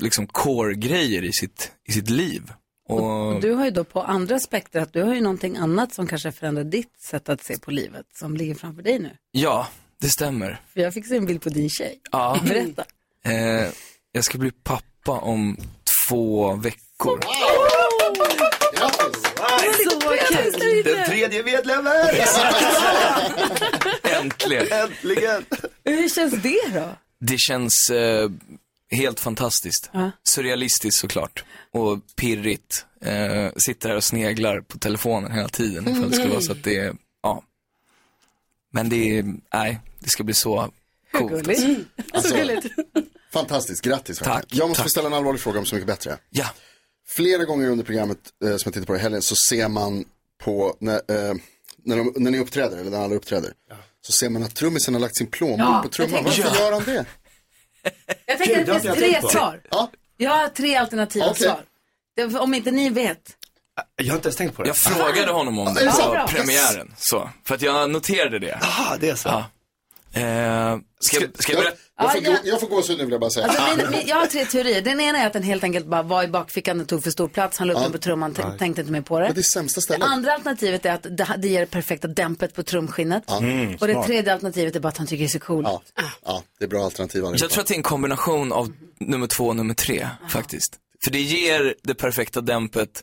S17: liksom core-grejer i sitt, i sitt liv. Och,
S1: Och du har ju då på andra spektrat, du har ju någonting annat som kanske förändrar ditt sätt att se på livet som ligger framför dig nu.
S17: Ja, det stämmer.
S1: För jag fick se en bild på din tjej.
S17: Ja.
S1: Berätta.
S17: Eh, jag ska bli pappa om två veckor.
S1: Så vad kul!
S15: Den tredje medlemmen!
S17: Äntligen.
S15: Äntligen!
S1: Hur känns det då?
S17: Det känns eh, Helt fantastiskt.
S1: Ja.
S17: Surrealistiskt såklart. Och pirrigt. Eh, sitter här och sneglar på telefonen hela tiden ifall det skulle vara så att det är, ja. Men det är, nej, det ska bli så coolt. alltså.
S5: Mm.
S3: Alltså, fantastiskt, grattis. verkligen.
S17: Tack,
S3: jag måste
S17: tack.
S3: ställa en allvarlig fråga om Så mycket bättre.
S17: Ja.
S3: Flera gånger under programmet eh, som jag tittar på i helgen så ser man på, när, eh, när, de, när ni uppträder, eller när alla uppträder, så ser man att trummisen har lagt sin plånbok
S1: Ja,
S3: på trumman.
S1: jag tänkte-
S3: Varför gör han det?
S1: Jag tänker
S3: Gud,
S1: att
S3: det
S1: det
S3: har inte
S1: finns
S3: jag
S1: tre
S3: tänkt på.
S1: svar.
S3: Ja.
S1: Jag har tre alternativa
S3: Okej.
S1: svar. Det- Om inte ni vet.
S15: Jag har inte ens tänkt på det.
S17: Jag frågade honom om
S1: Ja,
S17: det
S1: Ah, det är bra.
S17: på premiären. Så, för att jag noterade det.
S15: Jaha, det är så.
S17: Ja. Eh, ska, jag- ska jag berätta?
S3: Jag får,
S1: Ja, ja.
S3: gå- jag får gåshud nu vill jag bara säga.
S1: Alltså, min, min, jag har tre teorier. Den ena är att den helt enkelt bara var i bakfickan och tog för stor plats. Han la upp den på trumman, t-
S3: Nej.
S1: tänkte inte mer på det.
S3: Men Ah. det är sämsta
S1: Det
S3: stället.
S1: andra alternativet är att det, det ger det perfekta dämpet på trumskinnet.
S3: Ja. Mm,
S1: och det
S3: smart.
S1: tredje alternativet är bara att han tycker det är så coolt.
S3: Ah. Ja, det är bra alternativ
S17: Så jag tror att det är en kombination av nummer två och nummer tre faktiskt. För det ger det perfekta dämpet,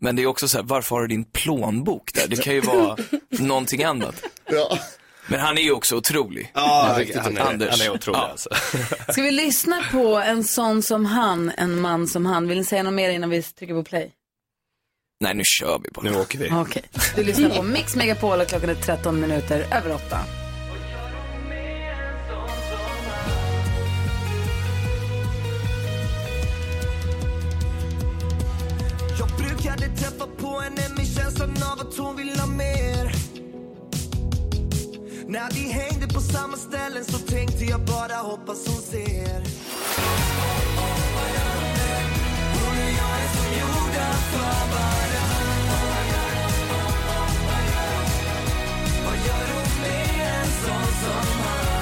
S17: men det är också så här, varför har du din plånbok där? Det kan ju vara någonting annat. Men han är ju också otrolig.
S15: Ja,
S17: Riktigt
S15: han är-
S17: Anders.
S15: han är otrolig, alltså.
S1: Ska vi lyssna på en sån som han, en man som han? Vill ni säga något mer innan vi trycker på play?
S17: Nej, nu kör vi bara. Nu åker vi.
S1: Okej. Du lyssnar på Mix Megapol och klockan är 13 minuter över 8.
S13: Jag brukade träffa på henne med känslan av att hon vill ha mer När vi hängde på samma ställen så tänkte jag bara hoppas hon ser Hon och jag är som gjorda för varann Vad gör hon med en sån som han?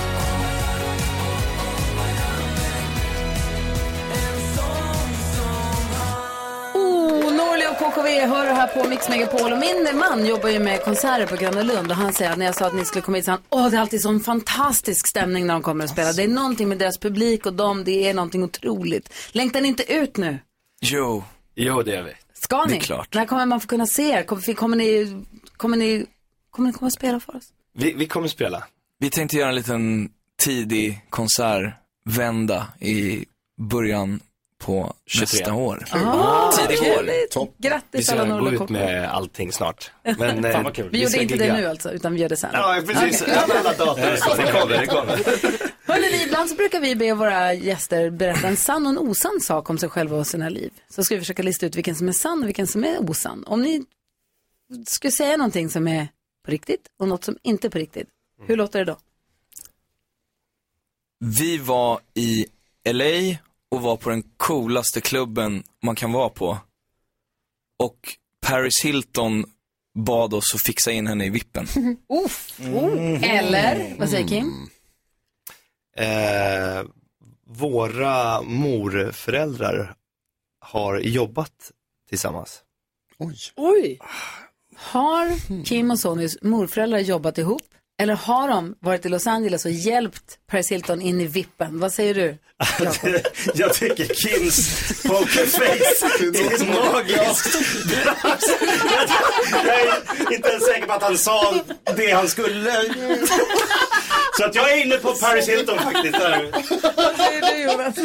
S13: En sån som han
S1: Oh, Norli och KKV hör här på Mix Megapol. Och min man jobbar ju med konserter på Gröna Lund och han säger att när jag sa att ni skulle komma hit så han, åh det är alltid sån fantastisk stämning när de kommer och spelar.
S15: Alltså.
S1: Det är någonting med deras publik och dem, det är någonting otroligt. Längtar ni inte ut nu?
S17: Jo.
S15: Jo, det gör vi.
S1: Ska ni?
S15: Det är klart.
S1: När kommer man få kunna se er? Kommer, kommer ni, kommer ni, kommer ni komma och spela för oss?
S15: Vi, vi kommer spela.
S17: Vi tänkte göra en liten tidig konsertvända i början på
S15: 23.
S17: nästa år.
S1: Ah,
S17: tidig
S1: kul.
S17: år.
S1: Topp.
S15: Vi
S1: Grattis alla
S15: ska gå
S1: Norli
S15: ut
S1: och
S15: med allting snart. Men, eh,
S1: Fan vad kul. Vi
S15: ska Eh,
S1: gjorde inte
S15: gigga.
S1: det nu alltså, utan vi gör det sen.
S15: Ja, precis.
S1: Okej.
S15: Alla datum. så Det kommer, det kommer.
S1: Hörrni, vi- ibland så brukar vi be våra gäster berätta en sann och en osann sak om sig själva och sina liv. Så ska vi försöka lista ut vilken som är sann och vilken som är osann. Om ni skulle säga någonting som är på riktigt och något som inte är på riktigt, hur låter det då?
S17: Vi var i LA och var på den coolaste klubben man kan vara på. Och Paris Hilton bad oss att fixa in henne i vippen.
S1: Uff. Mm. Eller, vad säger Kim?
S15: Eh, våra morföräldrar har jobbat tillsammans.
S1: Oj. Har Kim och Sonys morföräldrar jobbat ihop? Eller har de varit i Los Angeles och hjälpt Paris Hilton in i vippen? Vad säger du?
S15: Jag tycker Kims pokerface är magiskt. Jag är inte ens säker på att han sa det han skulle. Så att jag är inne på Paris Hilton faktiskt. Där.
S1: Vad säger du Jonas?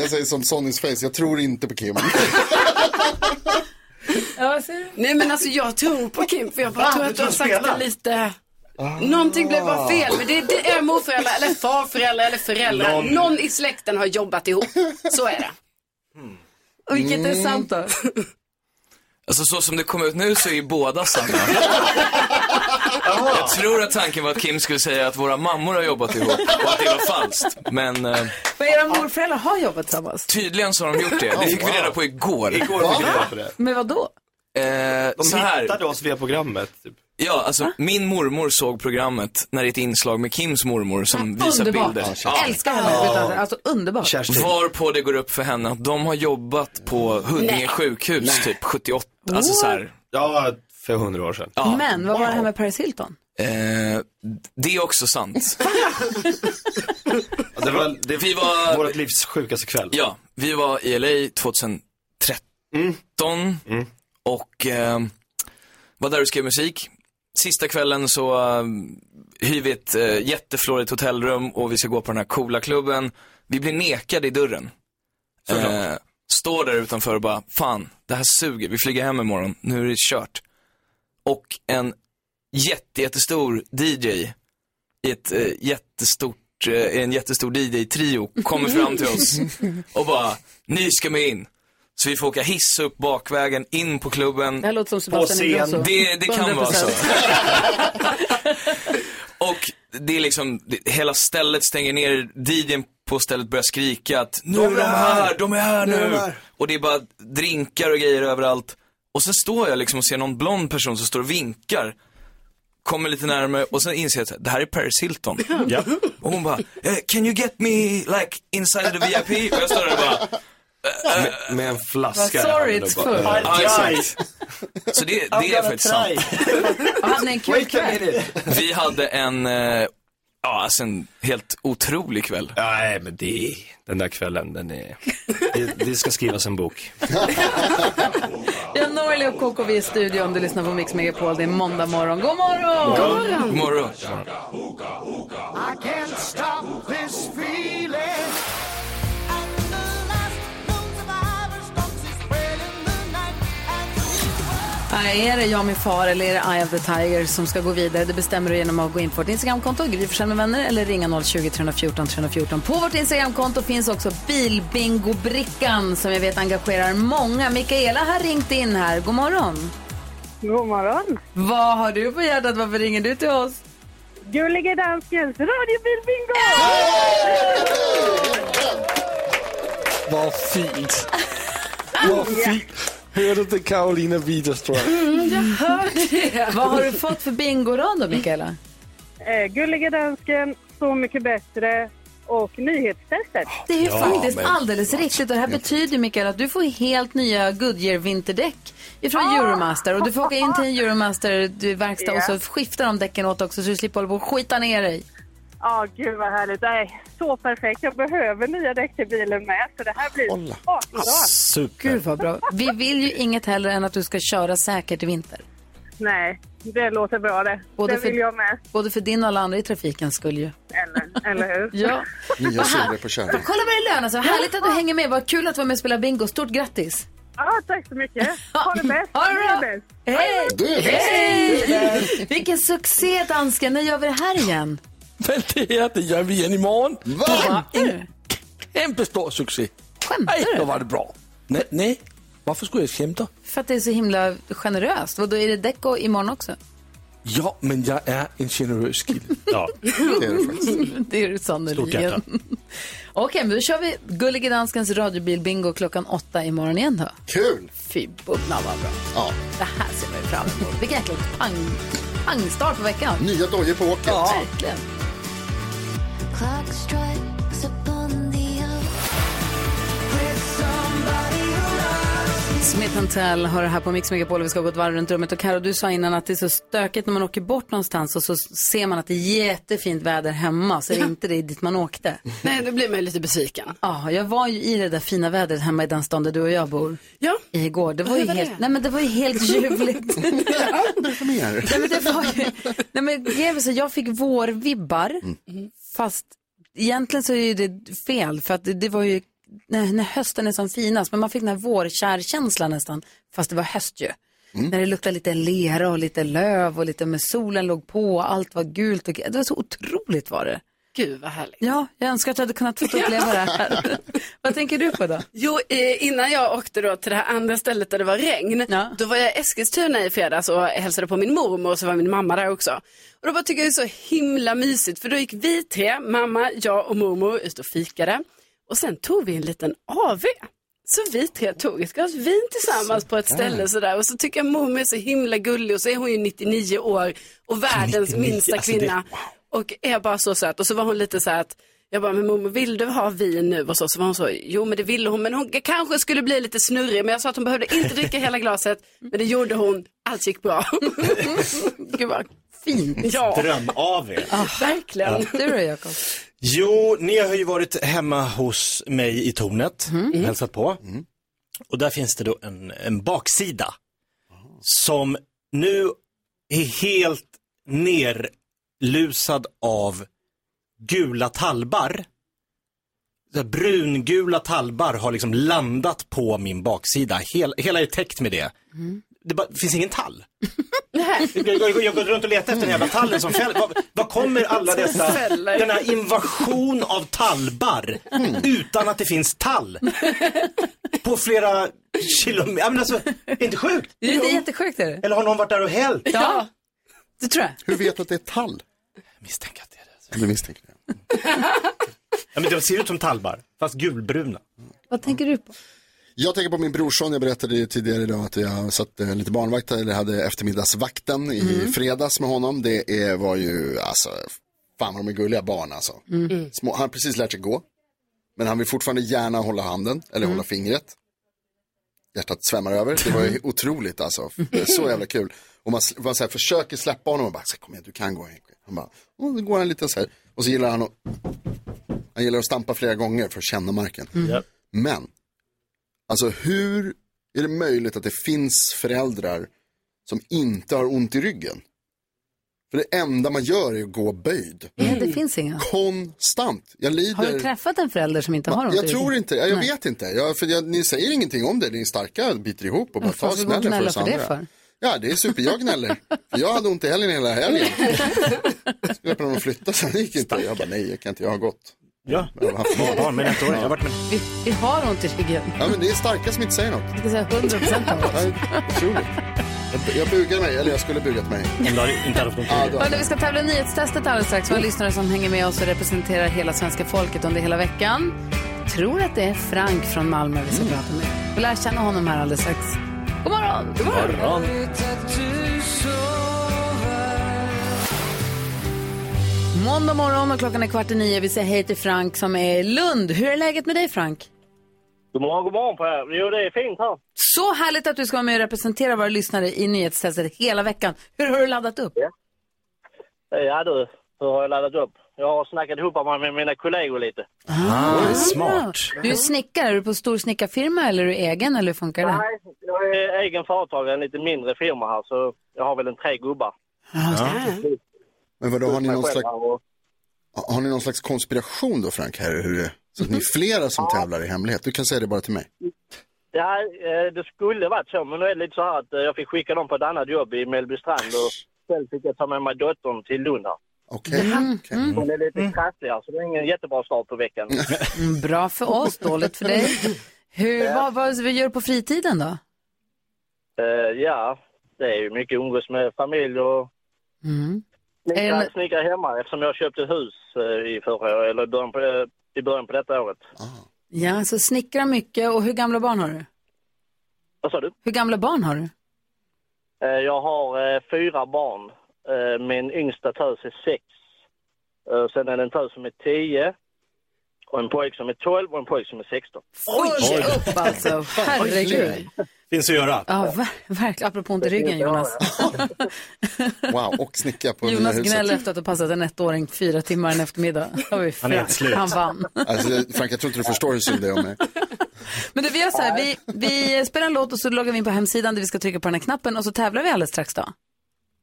S3: Jag säger som Sonnys face, jag tror inte på Kim.
S5: Nej men alltså jag tror på Kim för jag bara
S4: Va?
S5: tror
S4: Du
S5: att du
S4: tror
S5: har sagt
S4: spela?
S5: det lite. Någonting blev bara fel. Men det, det är morföräldrar eller farföräldrar eller föräldrar.
S1: Någon.
S5: Någon. i släkten har jobbat ihop. Så är det.
S1: Och Mm. vilket är sant då?
S17: Alltså så som det kom ut nu så är ju båda sanna. Jag tror att tanken var att Kim skulle säga att våra mammor har jobbat ihop och att det var falskt. Men eh,
S1: Men era morföräldrar har jobbat tillsammans?
S17: tydligen så har de gjort det. Det fick vi reda på igår.
S15: Igår fick vi reda på det.
S1: Men vad då?
S17: Eh,
S15: De
S17: så här.
S15: hittade oss via programmet. Typ.
S17: Ja, alltså min mormor såg programmet när det är ett inslag med Kims mormor som visar
S1: Underbart.
S17: bilder.
S1: Älskar henne. utan- Alltså underbart.
S17: Var på det går upp för henne att de har jobbat på Huddinge
S1: Nej.
S17: sjukhus typ 78, alltså så här.
S15: Ja, för hundra år sedan.
S17: Ja.
S1: Men vad var det här med Paris Hilton?
S17: Eh, det är också sant.
S15: det var, det
S17: vi var
S15: vårt livs sjukaste kväll.
S17: Ja, vi var i LA 2013 och eh, var där och skrev musik. sista kvällen så eh, hyr vi ett eh, jätteflorigt hotellrum och vi ska gå på den här coola klubben. Vi blir nekade i dörren. Eh, står där utanför och bara, fan, det här suger, vi flyger hem imorgon, nu är det kört. Och en jätte, jättestor DJ i ett eh, jättestort, eh, en jättestor DJ-trio kommer fram till oss och bara, ni ska med in. Så vi får åka hiss upp bakvägen in på klubben.
S1: Det här låter som Sebastian Ingrosso.
S17: Det, det kan vara så.
S1: 100%.
S17: Och det är liksom, det, hela stället stänger ner, DJn på stället börjar skrika att nu är de här, de är här
S13: Ah, Nu är de
S17: nu.
S13: här.
S17: Och det är bara drinkar och grejer överallt. Och sen står jag liksom och ser någon blond person som står och vinkar. Kommer lite närmare och sen inser jag att det här är Paris Hilton.
S2: Ja.
S17: Och hon bara, "Eh, can you get me like inside the VIP? Och jag står där och bara, eh,
S15: med, med en flaska. i
S1: Sorry,
S15: handen
S1: it's
S15: och
S1: full.
S15: bara-
S17: Ja, exakt. Så det, det är faktiskt sant.
S1: Och hade ni en kul kväll?
S17: Vi hade en, eh, ja alltså en helt otrolig kväll.
S15: Nej men det, den där kvällen, den är, det, det ska skrivas en bok.
S1: Vi har Norli och KKV i studion. Du lyssnar på Mix Megapol. Det är måndag morgon. God morgon!
S17: God morgon.
S4: I can't stop this feeling.
S1: Nej, är det jag min far eller är det Eye of the Tiger som ska gå vidare? Det bestämmer du genom att gå in på vårt Instagramkonto, Gry Forssell med vänner, eller ringa 020-314 314. På vårt Instagramkonto finns också bilbingobrickan som jag vet engagerar många. Mikaela har ringt in här. God morgon!
S16: God morgon!
S1: Vad har du på hjärtat? Varför ringer du till oss?
S16: Gullige danskens radiobilbingo!
S10: Vad fint. Vad fint. Hörde du Karolina Widerström?
S1: Mm, jag hörde det. Vad har du fått för bingorad då, Mikaela?
S16: Eh, Gullige dansken, Så mycket bättre och nyhetstestet.
S1: Det är ju
S16: Ja,
S1: faktiskt
S16: men-
S1: alldeles riktigt. Och det här betyder, Mikael, att du får helt nya Goodyear-vinterdäck ifrån Euromaster. Och du får åka in till en Euromaster-verkstad
S16: Ja.
S1: och så skiftar de däcken åt också så du slipper hålla på och skita ner dig.
S16: Ja, gud vad härligt. Nej, så perfekt. Jag behöver nya däck till bilen med, så det här blir asbra.
S2: Super.
S1: Gud vad bra. Vi vill ju inget hellre än att du ska köra säkert i vinter.
S16: Nej, det låter bra det. det vill jag med.
S1: Både för din och alla andra i trafiken skulle ju.
S16: Eller, eller hur?
S1: Ja.
S3: Nya
S1: Aha.
S3: sidor på kärlek.
S1: Kolla vad det lönar sig. Vad Härligt att du hänger med. Vad kul att du var med och spelade bingo. Stort grattis.
S16: Ja, tack så mycket. Ha det bäst.
S1: Ha det
S16: bra.
S1: Hej!
S16: Du är bäst.
S1: Hej! Vilken succé, dansken. När gör vi det här igen?
S10: Men det här, det gör vi igen imorgon. Va? Det var en kämpestor succé.
S1: Skämtar
S10: du? Då var det bra. Nej, nej. varför skulle jag skämta?
S1: För att det är så himla generöst. Vadå, är det Deco imorgon också?
S10: Ja, men jag är en generös kille.
S15: Ja,
S10: det är
S1: det är du sannerligen. Okej, men då kör vi Gullige Danskens radiobilbingo klockan åtta imorgon igen då.
S3: Kul!
S1: Fy bubblan vad bra.
S3: Ja.
S1: Det här ser man ju fram emot. Vilken jäkla pang, pangstart på veckan.
S3: Nya dojor på åket.
S1: Ja, verkligen.
S7: Clock strikes upon the hour. With somebody who loves you.
S1: Smith Tell har det här på Mix Megapol och vi ska gå ett varv runt rummet. Och Karo, du sa innan att det är så stökigt när man åker bort någonstans och så ser man att det är jättefint väder hemma så är det inte det dit man åkte.
S5: Nej, då blir man ju lite besviken.
S1: Ja, jag var ju i det där fina vädret hemma i den stan där du och jag bor.
S5: Ja.
S1: Igår. Det var ju
S5: Hur var
S1: helt,
S5: det?
S1: nej men det var ju helt ljuvligt.
S3: Berätta mer.
S1: nej men det var ju, nej men grejen var så här, jag fick vårvibbar. Fast egentligen så är ju det fel för att det, det var ju när, när hösten är som finast. Men man fick den här vårkärkänslan nästan. Fast det var höst ju.
S3: Mm.
S1: När det luktade lite lera och lite löv och lite med solen låg på och allt var gult. Och, det var så otroligt var det.
S5: Gud vad härligt.
S1: Ja, jag önskar att jag hade kunnat få uppleva det här. Vad tänker du på då?
S5: Jo, eh, innan jag åkte då till det här andra stället där det var regn, då var jag i Eskilstuna i fredags och hälsade på min mormor och så var min mamma där också. Och då bara tycker jag det är så himla mysigt för då gick vi tre, mamma, jag och mormor ut och fikade och sen tog vi en liten AV. Så vi tre tog ett glas vin tillsammans på ett
S9: Sådär.
S5: ställe sådär och så tycker jag mormor är så himla gullig och så är hon ju 99 år och världens
S9: 99,
S5: minsta
S9: alltså det-
S5: kvinna. Och är bara så söt. Och så var hon lite så här att jag bara, men mormor vill du ha vin nu? Och så, så var hon så, jo men det ville hon, men hon kanske skulle bli lite snurrig. Men jag sa att hon behövde inte dricka hela glaset, men det gjorde hon. Allt gick bra. Gud vad
S2: Mm.
S1: fint.
S5: Ja,
S2: Dröm av er.
S1: Ah.
S5: verkligen.
S1: Du då Jakob?
S2: Jo, ni har ju varit hemma hos mig i tornet, hälsat på. Och där finns det då en, en baksida som nu är helt nerlusad av gula talbar. Så här Brungula talbar har liksom landat på min baksida. Hel, hela är täckt med det. Det bara, finns ingen tall. Jag jag- jag har gått runt och letat efter den jävla tallen som fäller. Vad, vad kommer alla dessa,
S4: Som fäller.
S2: denna invasion av tallbar utan att det finns tall? På flera kilometer, ja, men alltså, det är inte sjukt.
S1: Det är jättesjukt är det.
S2: Eller har någon varit där och hällt?
S1: Ja, det tror jag.
S3: Hur vet du att det är tall? Du misstänker det.
S2: Ja, men de ser ut som tallbar, fast gulbruna.
S1: Vad tänker du på?
S3: Jag tänker på min brorson, jag berättade ju tidigare idag att jag satt eh, lite barnvakt, eller hade eftermiddagsvakten i
S4: Mm.
S3: fredags med honom. Det är, var ju, alltså, fan vad de är gulliga barn alltså.
S4: Mm.
S3: Små, han har precis lärt sig gå, men han vill fortfarande gärna hålla handen, eller
S1: Mm.
S3: hålla fingret. Hjärtat svämmar över, det var ju otroligt alltså, så jävla kul. Och man, s- man så här, försöker släppa honom och bara, så här, kom igen du kan gå Henke. Han bara, och då går han lite så här, och så gillar han att, han gillar att stampa flera gånger för att känna marken.
S1: Mm.
S3: Men, alltså hur är det möjligt att det finns föräldrar som inte har ont i ryggen? För det enda man gör är att gå böjd.
S1: Nej, det finns inga.
S3: Konstant. Jag lider.
S1: Har du träffat en förälder som inte har
S3: Ma-
S1: ont i
S3: jag
S1: ryggen?
S3: tror inte, jag, jag
S1: Nej.
S3: vet inte. Jag, för jag, ni säger ingenting om det, ni är starka, biter ihop och bara
S1: Varför
S3: tar
S1: ska vi gå
S3: smällen
S1: och
S3: för
S1: gnälla
S3: oss
S1: för det
S3: andra.
S1: för?
S3: Ja, det är super, jag gnäller. För jag hade ont i helgen hela helgen. Jag skulle på dem att flytta sen, det gick inte. Jag bara, nej, jag kan inte, jag har gått.
S2: Ja.
S3: Jag har haft
S2: barn, barn med ettåring. Jag har varit med
S1: Vi, vi har ont i ryggen.
S3: Ja, men det är starka som inte säger något.
S1: Jag ska säga 100 procent av oss.
S3: Otroligt. Jag, jag bugar mig, eller jag skulle bugat mig.
S2: Om du hade- inte hade fått ont i
S3: Ja, då-
S1: Hörrni, vi ska tävla i nyhetstestet alldeles strax. Våra lyssnare som hänger med oss och representerar hela svenska folket under hela veckan. Tror att det är Frank från Malmö vi ska
S3: Mm.
S1: prata med. Vi lär känna honom här alldeles strax. God morgon! God
S4: morgon.
S1: Måndag morgon och klockan är kvart i nio. Vi säger hej till Frank som är i Lund. Hur är läget med dig Frank?
S18: God morgon, god morgon på er. Jo, det är fint här.
S1: Så härligt att du ska vara med och representera våra lyssnare i nyhetstestet hela veckan. Hur har du laddat upp?
S18: Eh, Ja du, så har jag laddat upp. Jag har snackat ihop mig med mina kollegor lite.
S1: Ah, Du är snickare, är du på stor snickarfirma eller är du egen eller hur funkar det?
S18: Nej, jag är egen företagare, en lite mindre firma här, så jag har väl en tre gubbar.
S3: Men vadå, har ni,
S18: Mig
S3: någon
S18: själv
S3: slags,
S18: här och-
S3: har ni någon slags konspiration då Frank? Här, hur det, så att ni är flera som tävlar i hemlighet? Du kan säga det bara till mig.
S18: Ja, eh, det skulle varit så, men nu är det lite så här att eh, jag fick skicka dem på ett annat jobb i Mellbystrand och själv fick jag ta med mig dottern till Lund här.
S3: Okej. Mm.
S18: Hon är lite krasslig här, så det är ingen jättebra start på veckan.
S1: Mm, Bra för oss, dåligt för dig. Hur, vad, vad, vad gör du på fritiden då?
S18: Eh, ja, det är ju mycket umgås med familj och
S1: Mm.
S18: snickra, snickra hemma eftersom jag köpte ett hus eh, i förra eller i början på, eh, i början på detta året.
S1: Ja, så snickra mycket och hur gamla barn har du?
S18: Vad sa du?
S1: Hur gamla barn har du?
S18: Eh, jag har eh, fyra barn. Eh, min yngsta tös är sex. Eh, sen är det en tös som är tio och en pojke som är tolv och en pojke som är sexton.
S1: Oj, upp alltså. Herregud.
S2: Finns att göra.
S1: Ja, ver- verkligen. Apropå ont i ryggen Jonas.
S3: Wow, och snicka på nya
S1: Jonas
S3: huset.
S1: gnäller efter att ha passat en ettåring fyra timmar en eftermiddag. Har
S3: Han
S1: vi
S3: är
S1: fel.
S3: helt slut.
S1: Han vann.
S3: Alltså, Frank, jag tror inte du förstår hur synd det är om mig.
S1: Men du, vi gör så här, vi, vi spelar en låt och så loggar vi in på hemsidan där vi ska trycka på den här knappen och så tävlar vi alldeles strax då.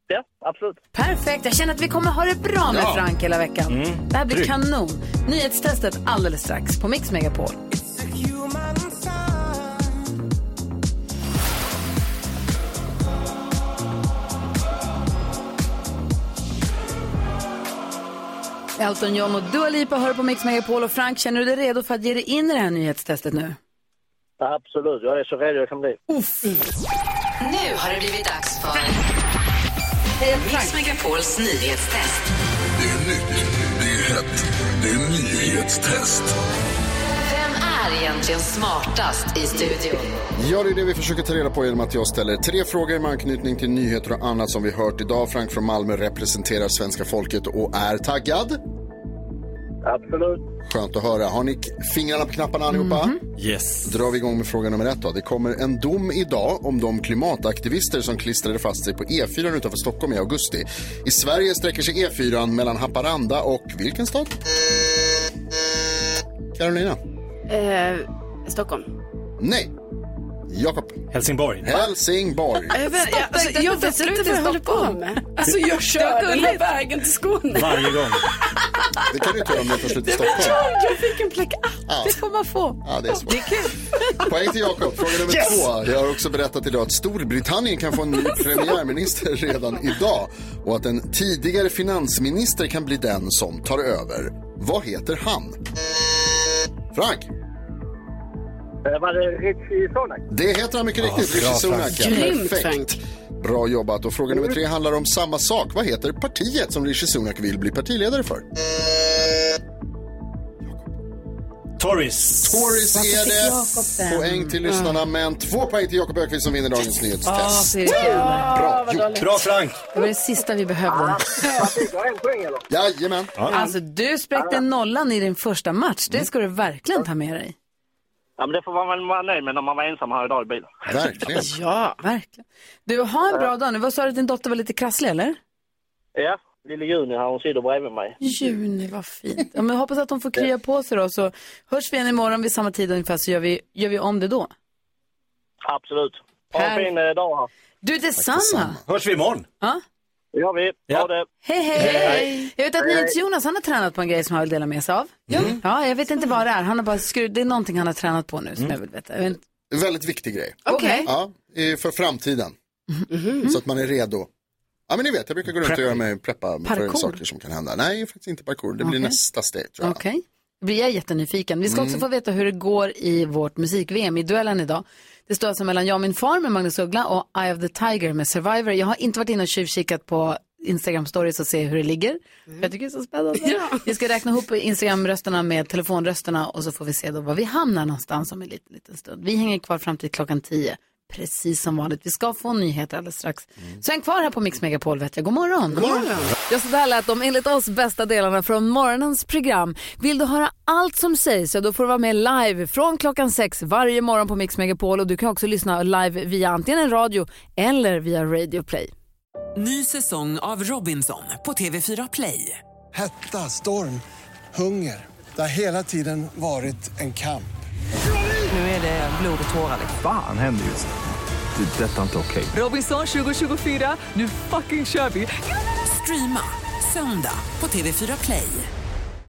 S18: Ja, absolut.
S1: Perfekt, jag känner att vi kommer ha det bra med
S18: Ja.
S1: Frank hela veckan.
S18: Mm,
S1: Det här blir
S18: tryggt.
S1: kanon. Nyhetstestet alldeles strax på Mix Megapol. Elton John och Dua Lipa hör på Mix Megapol och Frank, känner du dig redo för att ge dig in i det här nyhetstestet nu?
S18: Absolut, jag är så redo jag kan bli.
S9: Nu har det blivit dags för Mix Megapols nyhetstest.
S8: Det är nyhetstest.
S9: Vem är egentligen smartast i studion?
S3: Ja, det är det vi försöker ta reda på genom att jag ställer tre frågor med anknytning till nyheter och annat som vi hört idag. Frank från Malmö representerar svenska folket och är taggad.
S18: Absolut.
S3: Skönt att höra. Har ni k- fingrarna på knapparna allihopa?
S2: Yes.
S3: drar vi igång med fråga nummer ett. Då. Det kommer en dom idag om de klimataktivister som klistrade fast sig på E4 utanför Stockholm i augusti. I Sverige sträcker sig E4 mellan Haparanda och vilken stad? Carolina.
S5: Eh, Stockholm.
S3: Nej. Jakob.
S2: Helsingborg.
S3: Helsingborg.
S5: Jag vet, jag, alltså, jag vet inte vad jag håller på med. Alltså jag kör den här vägen till Skåne.
S2: Varje gång.
S3: Det kan du inte göra om du tar slut i
S5: Men
S3: Stockholm.
S5: jag- Jag fick en blackout.
S3: Ja.
S5: Det får man få.
S3: Ja, det är svårt.
S5: Det är kul.
S3: Poäng till Jakob. Fråga nummer
S5: Yes!
S3: två. Jag har också berättat idag att Storbritannien kan få en ny premiärminister redan idag och att en tidigare finansminister kan bli den som tar över. Vad heter han? Frank,
S18: Eh, Var det Richie Sonak?
S3: det heter han mycket
S18: Ja,
S3: riktigt.
S18: bra,
S3: Rishi Sunak.
S18: Frank. Grymt,
S3: Perfekt. Bra jobbat. Och fråga nummer tre handlar om samma sak. Vad heter partiet som Rishi Sunak vill bli partiledare för?
S2: Torres.
S3: Torres är det. Poäng till lyssnarna, men två poäng till Jakob Ökvist som vinner dagens
S1: Ja,
S3: nyhetstest.
S1: så är det kul.
S3: Bra gjort.
S2: Bra Frank.
S1: Det var det sista vi behövde.
S3: Jajamän.
S1: Alltså, du spräckte nollan i din första match. Det ska du verkligen ta med dig.
S18: Ja, men det får man väl vara nöjd med när man var ensam här idag i bilen.
S3: Verkligen.
S1: Ja, verkligen. Du, ha en bra dag nu. Vad sa du att din dotter var lite krasslig, eller?
S18: Ja, lille Juni här, hon sitter bredvid mig.
S1: Juni, vad fint. Ja, men jag hoppas att de får krya på sig då, så hörs vi igen imorgon vid samma tid ungefär, så gör vi, gör vi om det då.
S18: Absolut. Ha en
S1: Här.
S18: fin eh, dag här.
S1: Du, detsamma.
S2: Hörs vi imorgon?
S1: Ja?
S18: Det gör vi. Ha det.
S1: Hej, hej. Jag vet att
S18: Hej, hej.
S1: NyhetsJonas, han har tränat på en grej som han vill dela med sig av. Ja, jag vet inte vad det är. Han har bara skruv... Det är någonting han har tränat på nu som jag vill veta. Jag vet inte.
S3: Väldigt viktig grej.
S1: Okej. Mhm.
S3: Ja, i- för framtiden. Så att man är redo. Ja men ni vet, jag brukar gå runt och göra mig preppa för
S1: Parkour.
S3: saker som kan hända. Nej, faktiskt inte parkour. Det blir
S1: Okej.
S3: nästa steg tror jag.
S1: Okej. Då blir jag jättenyfiken. Vi ska också
S3: Mm.
S1: få veta hur det går i vårt musik-VM, i duellen idag. Det står alltså mellan Jag och min far med Magnus Uggla och Eye of the Tiger med Survivor. Jag har inte varit inne och tjuvkikat på Instagram stories och se hur det ligger.
S3: Mm.
S1: Jag tycker det är så spännande. Vi ska räkna ihop Instagram-rösterna med telefonrösterna och så får vi se då var vi hamnar någonstans om en liten, liten stund. Vi hänger kvar fram till klockan 10, precis som vanligt. Vi ska få nyheter alldeles strax. Så häng kvar här på Mix Megapol vet jag. God morgon!
S19: Mm. God morgon.
S1: Ja, så där lät de enligt oss bästa delarna från morgonens program. Vill du höra allt som sägs så då får du vara med live från klockan sex varje morgon på Mix Megapol och du kan också lyssna live via antingen en radio eller via Radio Play.
S20: Ny säsong av Robinson på TV4 Play.
S21: Hetta, storm, hunger. Det har hela tiden varit en kamp.
S20: Nu är det blod och tårar.
S22: Fan händer just det. Det är detta inte okej.
S20: Robinson 2024, nu fucking kör vi! Streama söndag på TV4 Play.